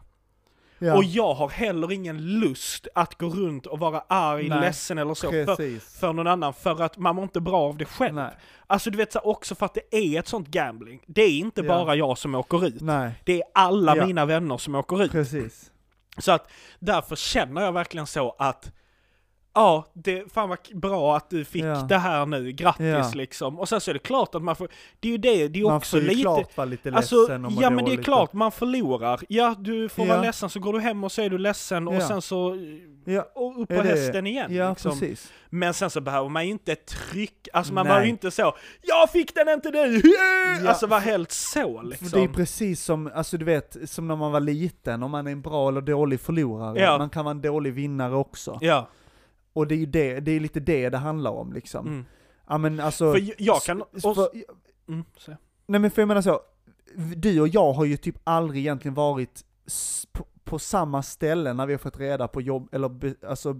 S1: ja.
S2: Och jag har heller ingen lust att gå runt och vara arg,
S1: Nej,
S2: ledsen eller så för,
S1: Precis.
S2: för någon annan för att man mår inte bra av det själv.
S1: Nej.
S2: Alltså du vet så här, också för att det är ett sånt gambling. Det är inte
S1: Ja.
S2: bara jag som åker ut.
S1: Nej,
S2: Det är alla
S1: Ja.
S2: mina vänner som åker ut.
S1: precis.
S2: Så att därför känner jag verkligen så att Ja, det, fan vad k- bra att du fick
S1: Ja.
S2: det här nu, grattis
S1: Ja.
S2: liksom. Och sen så är det klart att man får, det är ju det, det är
S1: Man
S2: också
S1: får ju
S2: lite...
S1: klart vara lite
S2: Alltså,
S1: ledsen och må
S2: ja men det är
S1: dåligt.
S2: klart, man förlorar. Ja, du får vara
S1: Ja.
S2: ledsen, så går du hem och så är du ledsen och
S1: Ja.
S2: sen så... eh,
S1: Ja.
S2: Och upp på
S1: Är det-
S2: hästen igen
S1: Ja,
S2: liksom.
S1: precis.
S2: Men sen så behöver man ju inte tryck, alltså man
S1: Nej.
S2: behöver ju inte så Jag fick den inte nu!
S1: Ja.
S2: Alltså vara helt så liksom.
S1: För Det är precis som, alltså du vet, som när man var liten, om man är en bra eller dålig förlorare.
S2: Ja.
S1: Man kan vara en dålig vinnare också.
S2: Ja.
S1: Och det är ju det, det är lite det det handlar om liksom.
S2: Mm.
S1: Ja men alltså...
S2: För j- jag kan...
S1: s-
S2: Och,
S1: för,
S2: mm, så.
S1: nej men för jag menar så, du och jag har ju typ aldrig egentligen varit s- på, på samma ställe när vi har fått reda på jobb, eller be, alltså...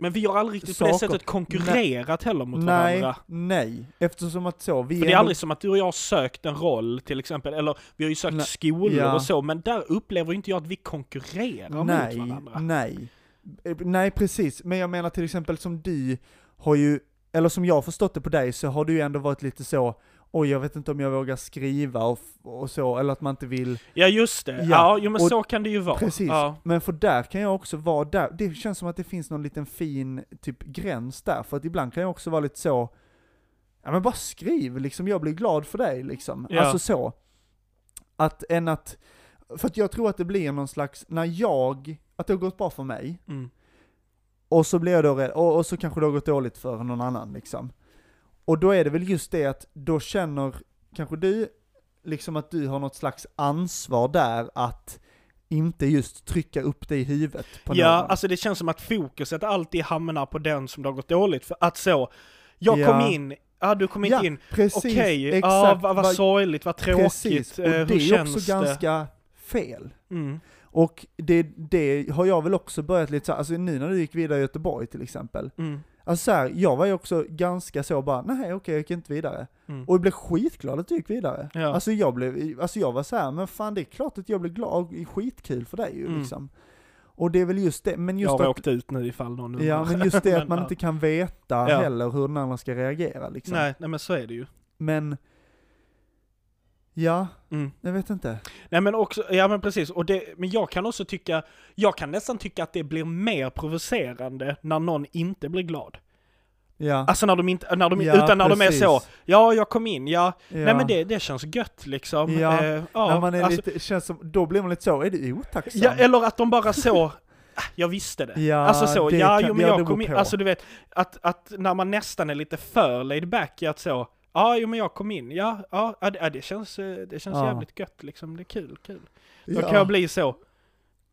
S2: Men vi har aldrig riktigt på det
S1: Saker.
S2: sättet konkurrerat heller mot
S1: nej,
S2: varandra.
S1: nej. Eftersom att så, vi
S2: För det är
S1: ändå-
S2: aldrig som att du och jag har sökt en roll till exempel, eller vi har ju sökt
S1: Nej.
S2: skolor
S1: Ja.
S2: och så, men där upplever ju inte jag att vi konkurrerar
S1: nej, Mm.
S2: mot varandra.
S1: Nej, Eh, nej precis. Men jag menar till exempel som du har ju, eller som jag har förstått det på dig, så har du ju ändå varit lite så, oj jag vet inte om jag vågar skriva och, f- och så, eller att man inte vill.
S2: Ja just det, ja,
S1: Ja.
S2: jo, men
S1: Och-
S2: så kan det ju vara.
S1: Precis.
S2: Ja.
S1: Men för där kan jag också vara där, det känns som att det finns någon liten fin typ gräns där, för att ibland kan jag också vara lite så, ja men bara skriv liksom, jag blir glad för dig liksom.
S2: Ja.
S1: Alltså så. Att än att, för att jag tror att det blir någon slags, när jag, att det har gått bra för mig,
S2: Mm.
S1: Och så blir jag då rädd, och, och så kanske det har gått dåligt för någon annan liksom. Och då är det väl just det att då känner kanske du liksom att du har något slags ansvar där att inte just trycka upp det i huvudet på
S2: Ja,
S1: någon.
S2: alltså det känns som att fokuset alltid hamnar på den som det har gått dåligt för. Att så, jag
S1: Ja.
S2: kom in, ja du kom inte
S1: Ja,
S2: in,
S1: precis,
S2: okej,
S1: exakt.
S2: ja vad, vad
S1: Vad-
S2: sorgligt, vad tråkigt,
S1: Precis, och
S2: eh,
S1: det
S2: hur
S1: är
S2: känns
S1: också
S2: det?
S1: ganska fel.
S2: Mm.
S1: Och det, det har jag väl också börjat lite så här, alltså nu när du gick vidare i Göteborg till exempel.
S2: Mm.
S1: Alltså så här, jag var ju också ganska så bara, nej okej jag gick inte vidare.
S2: Mm.
S1: Och jag blev skitglad att du gick vidare.
S2: Ja.
S1: Alltså jag blev, alltså jag var så här, men fan det är klart att jag blev glad, och skitkul för dig ju
S2: Mm.
S1: liksom. Och det är väl just det, men
S2: Jag
S1: just,
S2: har
S1: att,
S2: åkt ut nu ifall någon undrar.
S1: ja, men just det att man
S2: ja.
S1: inte kan veta
S2: Ja.
S1: heller hur den andra ska reagera liksom.
S2: Nej, nej men så är det ju.
S1: Men, ja,
S2: Mm.
S1: jag vet inte.
S2: Nej men också, ja men precis, och det, men jag kan också tycka, jag kan nästan tycka att det blir mer provocerande när någon inte blir glad.
S1: Ja,
S2: Alltså när de inte, när de,
S1: Ja,
S2: utan när
S1: precis.
S2: de är så, ja jag kom in, ja,
S1: ja.
S2: nej men det, det känns gött liksom.
S1: Ja,
S2: Eh,
S1: när man är
S2: alltså,
S1: lite, känns som, då blir man lite så, är du otacksam?
S2: ja, eller att de bara så, "Ah, jag visste det.
S1: Ja,
S2: alltså så,
S1: det
S2: ja
S1: kan-
S2: jo, men
S1: ja,
S2: jag
S1: det
S2: kom
S1: beror
S2: in,
S1: på.
S2: alltså du vet, att, att när man nästan är lite för laid back i att så, ja jo men jag kom in, ja, ja, ja, det- ja det känns, eh, det känns
S1: Ja.
S2: jävligt gött liksom, det är kul, kul. Då kan jag bli så,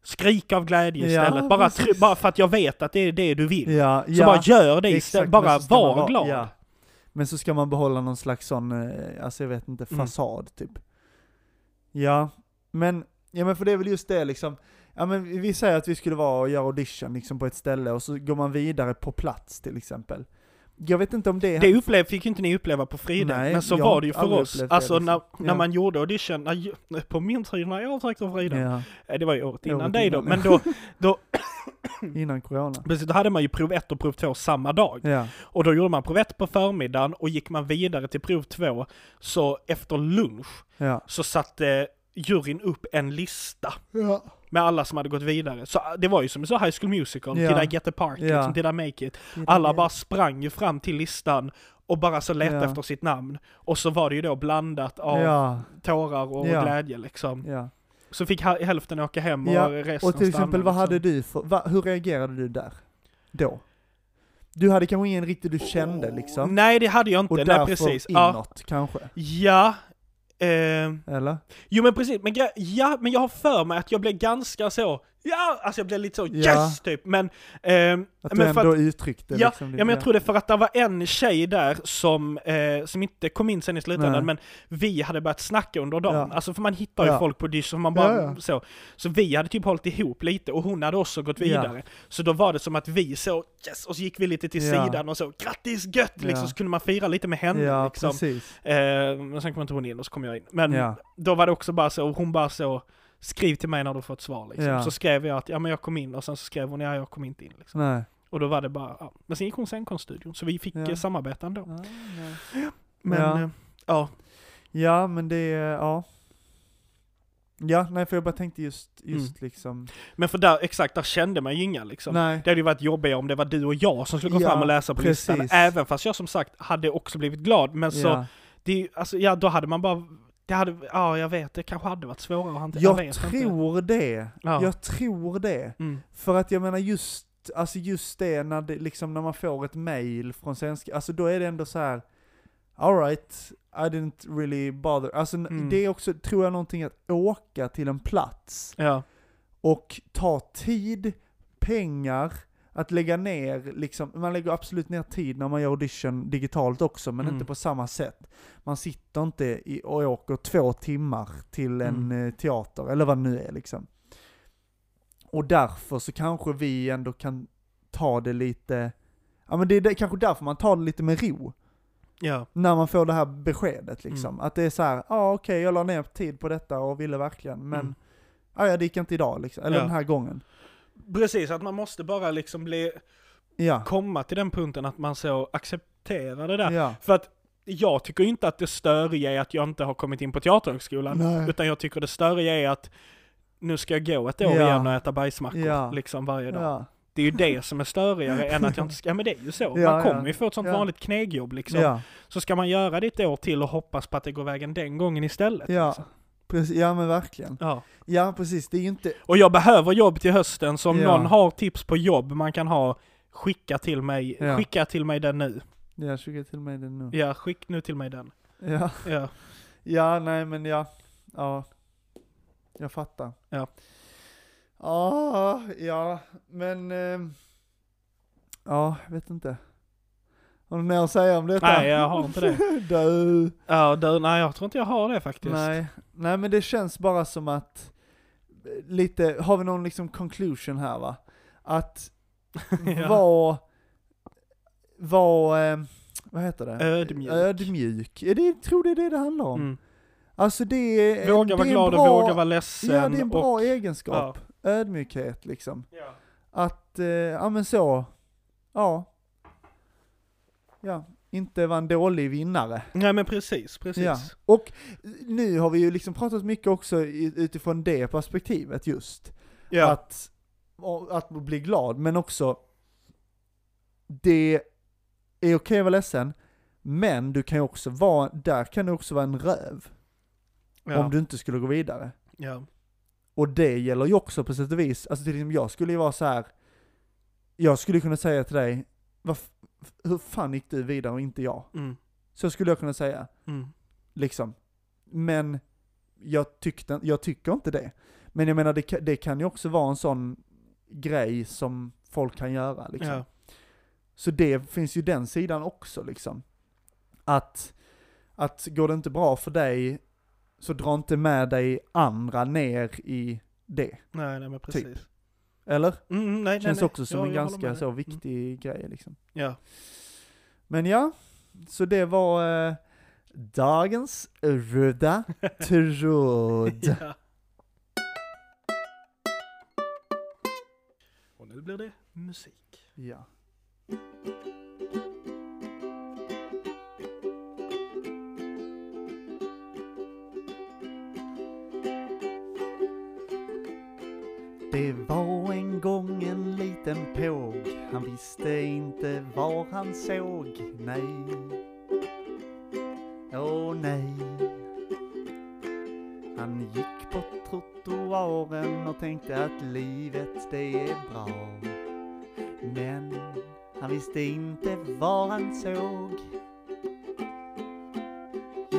S2: skrik av glädje
S1: Ja,
S2: istället. bara,
S1: precis.
S2: tr- bara för att jag vet att det är det du vill.
S1: ja,
S2: Så
S1: ja,
S2: bara gör det
S1: exakt,
S2: istället,
S1: men
S2: bara
S1: så ska man
S2: var
S1: vara-
S2: glad.
S1: ja. Men så ska man behålla någon slags sån, eh, alltså jag vet inte,
S2: Mm.
S1: fasad typ. Ja, men, ja men för det är väl just det liksom, ja men vi säger att vi skulle vara och göra audition liksom på ett ställe och så går man vidare på plats till exempel. Jag vet inte om det,
S2: Det upplev, fick ju inte ni uppleva på Frida,
S1: Nej,
S2: men så
S1: jag
S2: var
S1: har
S2: det ju för
S1: aldrig
S2: oss.
S1: upplevt det,
S2: alltså
S1: liksom.
S2: när, när
S1: Ja.
S2: man gjorde audition, när, ju- på min tid när jag försökte Frida,
S1: ja,
S2: Eh, det var ju året innan
S1: Året
S2: dig då,
S1: innan,
S2: men då, Mm.
S1: innan corona.
S2: precis, då hade man ju prov 1 och prov 2 samma dag.
S1: Ja,
S2: Och då gjorde man prov 1 på förmiddagen och gick man vidare till prov 2, så efter lunch
S1: ja.
S2: så satte juryn upp en lista
S1: Ja,
S2: med alla som hade gått vidare. Så ah, det var ju som så High School Musical,
S1: Ja.
S2: Did I Get The Part,
S1: Ja. Mm.
S2: liksom, Did I Make It? Alla bara sprang ju fram till listan och bara så letade
S1: Ja.
S2: efter sitt namn. Och så var det ju då blandat av
S1: Ja,
S2: tårar och
S1: Ja.
S2: glädje liksom.
S1: ja.
S2: Så fick ha- hälften åka hem och
S1: Ja,
S2: resten
S1: Och till exempel,
S2: stannade,
S1: vad hade
S2: liksom.
S1: du för, va, hur reagerade du där? Då? Du hade kanske ingen riktigt du kände liksom?
S2: Nej det hade jag inte,
S1: Och
S2: nej
S1: därför
S2: precis. Ja,
S1: inåt kanske?
S2: ja eh,
S1: Eller?
S2: jo men precis, men, gre- ja, men jag har för mig att jag blev ganska så, ja, alltså jag blev lite så
S1: Ja.
S2: yes typ, men... ehm,
S1: Att du
S2: men för
S1: ändå uttryckte
S2: ja,
S1: liksom
S2: Ja men jag tror det för att det var en tjej där som, eh, som inte kom in sen i slutändan, men vi hade börjat snacka under dagen.
S1: Ja.
S2: Alltså för man hittar ju
S1: Ja.
S2: folk på Dish och man bara
S1: Ja, ja.
S2: så. Så vi hade typ hållit ihop lite och hon hade också gått
S1: Ja.
S2: vidare. Så då var det som att vi så, yes! Och så gick vi lite till
S1: Ja.
S2: sidan och så, grattis gött! Liksom,
S1: Ja.
S2: Så kunde man fira lite med henne
S1: Ja,
S2: liksom.
S1: precis.
S2: Eh, men sen kom inte hon in och så kom jag in. Men
S1: Ja.
S2: då var det också bara så, och hon bara så, skriv till mig när du fått svar liksom.
S1: Ja.
S2: Så skrev jag att, ja men jag kom in och sen så skrev hon, ja jag kom inte in liksom.
S1: Nej.
S2: Och då var det bara, ja. Men sen gick hon scenkonststudion, så vi fick
S1: Ja.
S2: eh, samarbeta ändå. Men,
S1: Ja.
S2: eh, ja.
S1: Ja men det, är- ja. Ja, nej för jag bara tänkte just,
S2: Mm.
S1: just liksom...
S2: Men för där, exakt, där kände man ju inga liksom.
S1: Nej.
S2: Det hade ju varit jobbigare om det var du och jag som skulle gå
S1: Ja,
S2: fram och läsa på listan.
S1: precis.
S2: Även fast jag som sagt hade också blivit glad, men så,
S1: ja.
S2: det, är ju- alltså, ja då hade man bara, det hade, ja jag vet, det kanske hade varit svårare att hantera.
S1: Jag
S2: vet inte.
S1: tror det.
S2: Ja.
S1: Jag tror det.
S2: Mm.
S1: För att jag menar just, alltså just det när det, liksom när man får ett mail från svenska, alltså då är det ändå så här. Alright, I didn't really bother. Alltså n-
S2: Mm.
S1: det är också, tror jag, någonting att åka till en plats
S2: Ja.
S1: och ta tid, pengar, att lägga ner liksom, man lägger absolut ner tid när man gör audition digitalt också, men
S2: Mm.
S1: inte på samma sätt. Man sitter inte i, och åker två timmar till en
S2: Mm.
S1: eh, teater, eller vad det nu är liksom. Och därför så kanske vi ändå kan ta det lite, ja men det är det, kanske därför man tar det lite med ro.
S2: Ja.
S1: När man får det här beskedet
S2: Mm.
S1: liksom. Att det är så här, ja ah, okej jag la ner tid på detta och ville verkligen, men
S2: Mm.
S1: ah, ja det gick inte idag liksom, eller
S2: Ja.
S1: den här gången.
S2: Precis, att man måste bara liksom bli,
S1: Ja.
S2: komma till den punkten att man så accepterar det där.
S1: Ja.
S2: För att jag tycker ju inte att det störiga är att jag inte har kommit in på Teaterhögskolan.
S1: Nej.
S2: Utan jag tycker det störiga är att nu ska jag gå ett år
S1: Ja.
S2: igen och äta bajsmackor
S1: Ja.
S2: liksom varje dag.
S1: Ja.
S2: Det är ju det som är störigare än att jag inte ska, ja men det är ju så.
S1: Ja,
S2: man kommer
S1: ja.
S2: ju få ett sånt
S1: Ja.
S2: vanligt knegjobb liksom.
S1: Ja.
S2: Så ska man göra det ett år till och hoppas på att det går vägen den gången istället.
S1: Ja.
S2: Liksom.
S1: Precis, ja men verkligen.
S2: Ja.
S1: Ja precis, det är ju inte...
S2: Och jag behöver jobb till hösten, så om
S1: Ja.
S2: någon har tips på jobb man kan ha, skicka till mig,
S1: Ja.
S2: skicka till mig den nu.
S1: Jag skickar till mig den nu.
S2: Ja, skicka nu till mig den.
S1: Ja,
S2: Ja.
S1: ja nej men ja. Ja. Jag fattar.
S2: Ja.
S1: Ja, ja, men... ehm, ja, jag vet inte. Har du mer att säga om detta?
S2: Nej, jag har inte det.
S1: Du.
S2: Ja, du, nej jag tror inte jag har det faktiskt.
S1: Nej, nej men det känns bara som att, eh, lite, har vi någon liksom conclusion här va? Att
S2: Ja.
S1: vara, vara, eh, vad heter det?
S2: Ödmjuk.
S1: Ödmjuk. Ja, det, jag tror det är det det handlar om.
S2: Mm.
S1: Alltså det är, det
S2: Våga
S1: är
S2: vara
S1: en
S2: glad
S1: bra,
S2: och våga vara ledsen.
S1: Ja det är en bra
S2: och,
S1: egenskap. Ödmjukhet liksom. Att, eh, ja men så, ja. Ja, inte vara en dålig vinnare.
S2: Nej men precis, precis.
S1: Ja. Och nu har vi ju liksom pratat mycket också i- utifrån det perspektivet just.
S2: Ja.
S1: Att, och- att bli glad, men också det är okej att vara ledsen, men du kan ju också vara, där kan du också vara en röv
S2: ja.
S1: om du inte skulle gå vidare.
S2: ja.
S1: Och det gäller ju också på sätt och vis, alltså till exempel jag skulle ju vara så här. jag skulle kunna säga till dig, "Varf- hur fan gick du vidare och inte jag?
S2: Mm.
S1: Så skulle jag kunna säga.
S2: Mm.
S1: liksom. Men jag, tyckte, jag tycker inte det. Men jag menar, det, ka- det kan ju också vara en sån grej som folk kan göra. Liksom.
S2: Ja.
S1: Så det finns ju den sidan också. Liksom. Att, att går det inte bra för dig så dra inte med dig andra ner i det.
S2: Nej, nej men precis.
S1: Eller?
S2: Mm, mm, nej,
S1: Typ. Känns
S2: nej, nej.
S1: också som
S2: Ja,
S1: en
S2: jag håller
S1: ganska
S2: med
S1: så
S2: dig. Mm.
S1: viktig grej. Liksom.
S2: Ja.
S1: Men ja, så det var eh, dagens röda tråd.
S2: ja. Och nu blir det musik.
S1: Ja. Det var en gång en liten påg Han visste inte var han såg Nej Åh nej Han gick på trottoaren och tänkte att livet det är bra men han visste inte var han såg.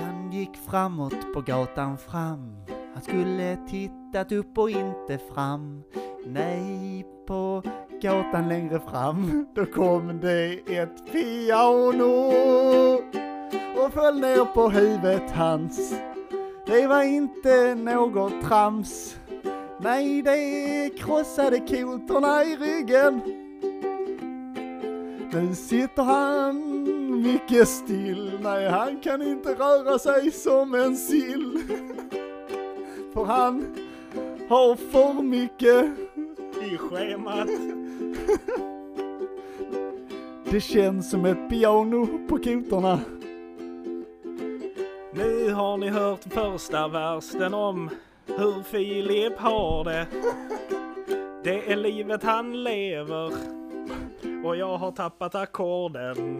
S1: Han gick framåt på gatan fram. Han skulle tittat upp och inte fram. Nej, på gatan längre fram. Då kom det ett piano och föll ner på huvudet hans. Det var inte något trams. Nej, det krossade kotorna i ryggen. Nu sitter han mycket still. Nej, han kan inte röra sig som en sill. För han har för mycket.
S2: I schemat.
S1: Det känns som ett piano på kotorna.
S2: Nu har ni hört första versen om hur Filip har det. Det är livet han lever och jag har tappat ackorden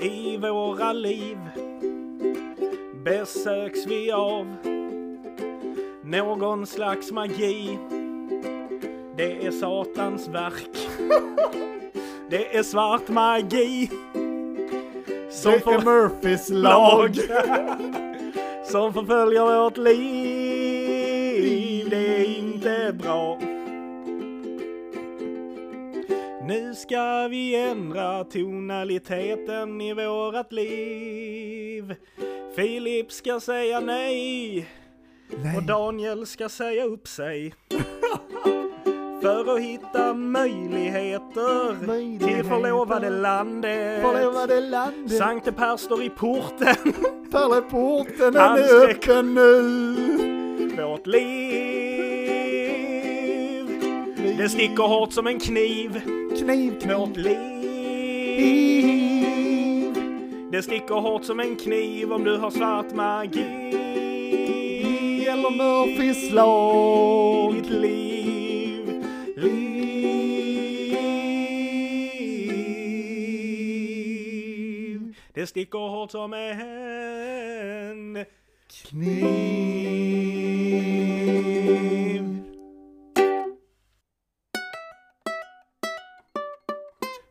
S2: i våra liv besöks vi av någon slags magi. Det är Satans verk. Det är svart magi. Som
S3: Det är
S2: får-
S3: Murphys lag.
S2: som förföljer vårt liv. Det är inte bra. Nu ska vi ändra tonaliteten i vårat liv. Filip ska säga nej och Daniel ska säga upp sig. För att hitta möjligheter,
S3: Möjligheter.
S2: till förlovade landet.
S3: Förlovade landet.
S2: Sankte Per står i porten.
S3: Pärleporten den
S2: Han
S3: är
S2: skrek.
S3: öppen nu.
S2: vårt liv. Det sticker hårt som en kniv.
S3: Kniv,
S2: Vårt liv.
S3: kniv.
S2: Det sticker hårt som en kniv om du har svart magi.
S3: Eller Murphys lag.
S2: Ditt liv. Liv. Det sticker hårt som en kniv.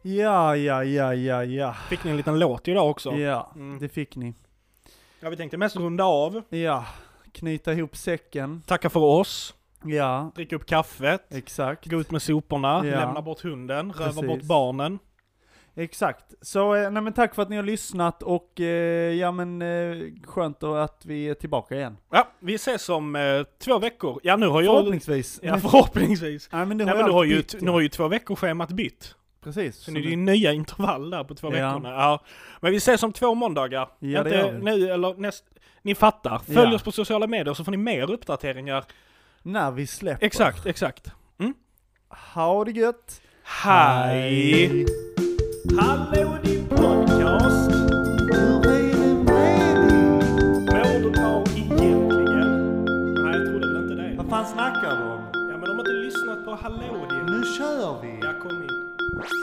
S1: Ja, ja, ja, ja, ja.
S2: Fick ni en liten låt idag också?
S1: Ja,
S2: Mm.
S1: det fick ni.
S2: Ja, vi tänkte mest runda av,
S1: Ja, knyta ihop säcken.
S2: tacka för oss,
S1: Ja,
S2: dricka upp kaffet,
S1: exakt.
S2: gå ut med soporna,
S1: Ja.
S2: lämna bort hunden, röva
S1: Precis.
S2: bort barnen.
S1: Exakt. Så eh, nej, men tack för att ni har lyssnat och eh, ja men eh, skönt då att vi är tillbaka igen.
S2: Ja, vi ses om eh, två veckor. Ja, nu har jag...
S1: Förhoppningsvis.
S2: Ja, förhoppningsvis.
S1: Nej men nu
S2: Nej,
S1: har,
S2: men du
S1: allt
S2: har, ju,
S1: bytt
S2: nu har ju två veckoschemat bytt.
S1: Precis.
S2: Så
S1: Så
S2: nu är det
S1: nu-
S2: ju nya intervall där på två
S1: Ja.
S2: veckorna. Ja. Men vi ses om två måndagar.
S1: Ja, det
S2: Inte
S1: gör vi.
S2: nu eller näst... Ni fattar. Följ
S1: Ja.
S2: oss på sociala medier så får ni mer uppdateringar.
S1: När vi släpper.
S2: Exakt, exakt.
S1: Ha det gött.
S2: Hej! Hallå din podcast!
S3: Hur är det med dig?
S2: Mår du bra egentligen? Nej, jag trodde väl inte det.
S1: Vad fan snackar du om?
S2: Ja, men de har inte lyssnat på Hallå din.
S3: Nu kör vi.
S2: Ja, kom in.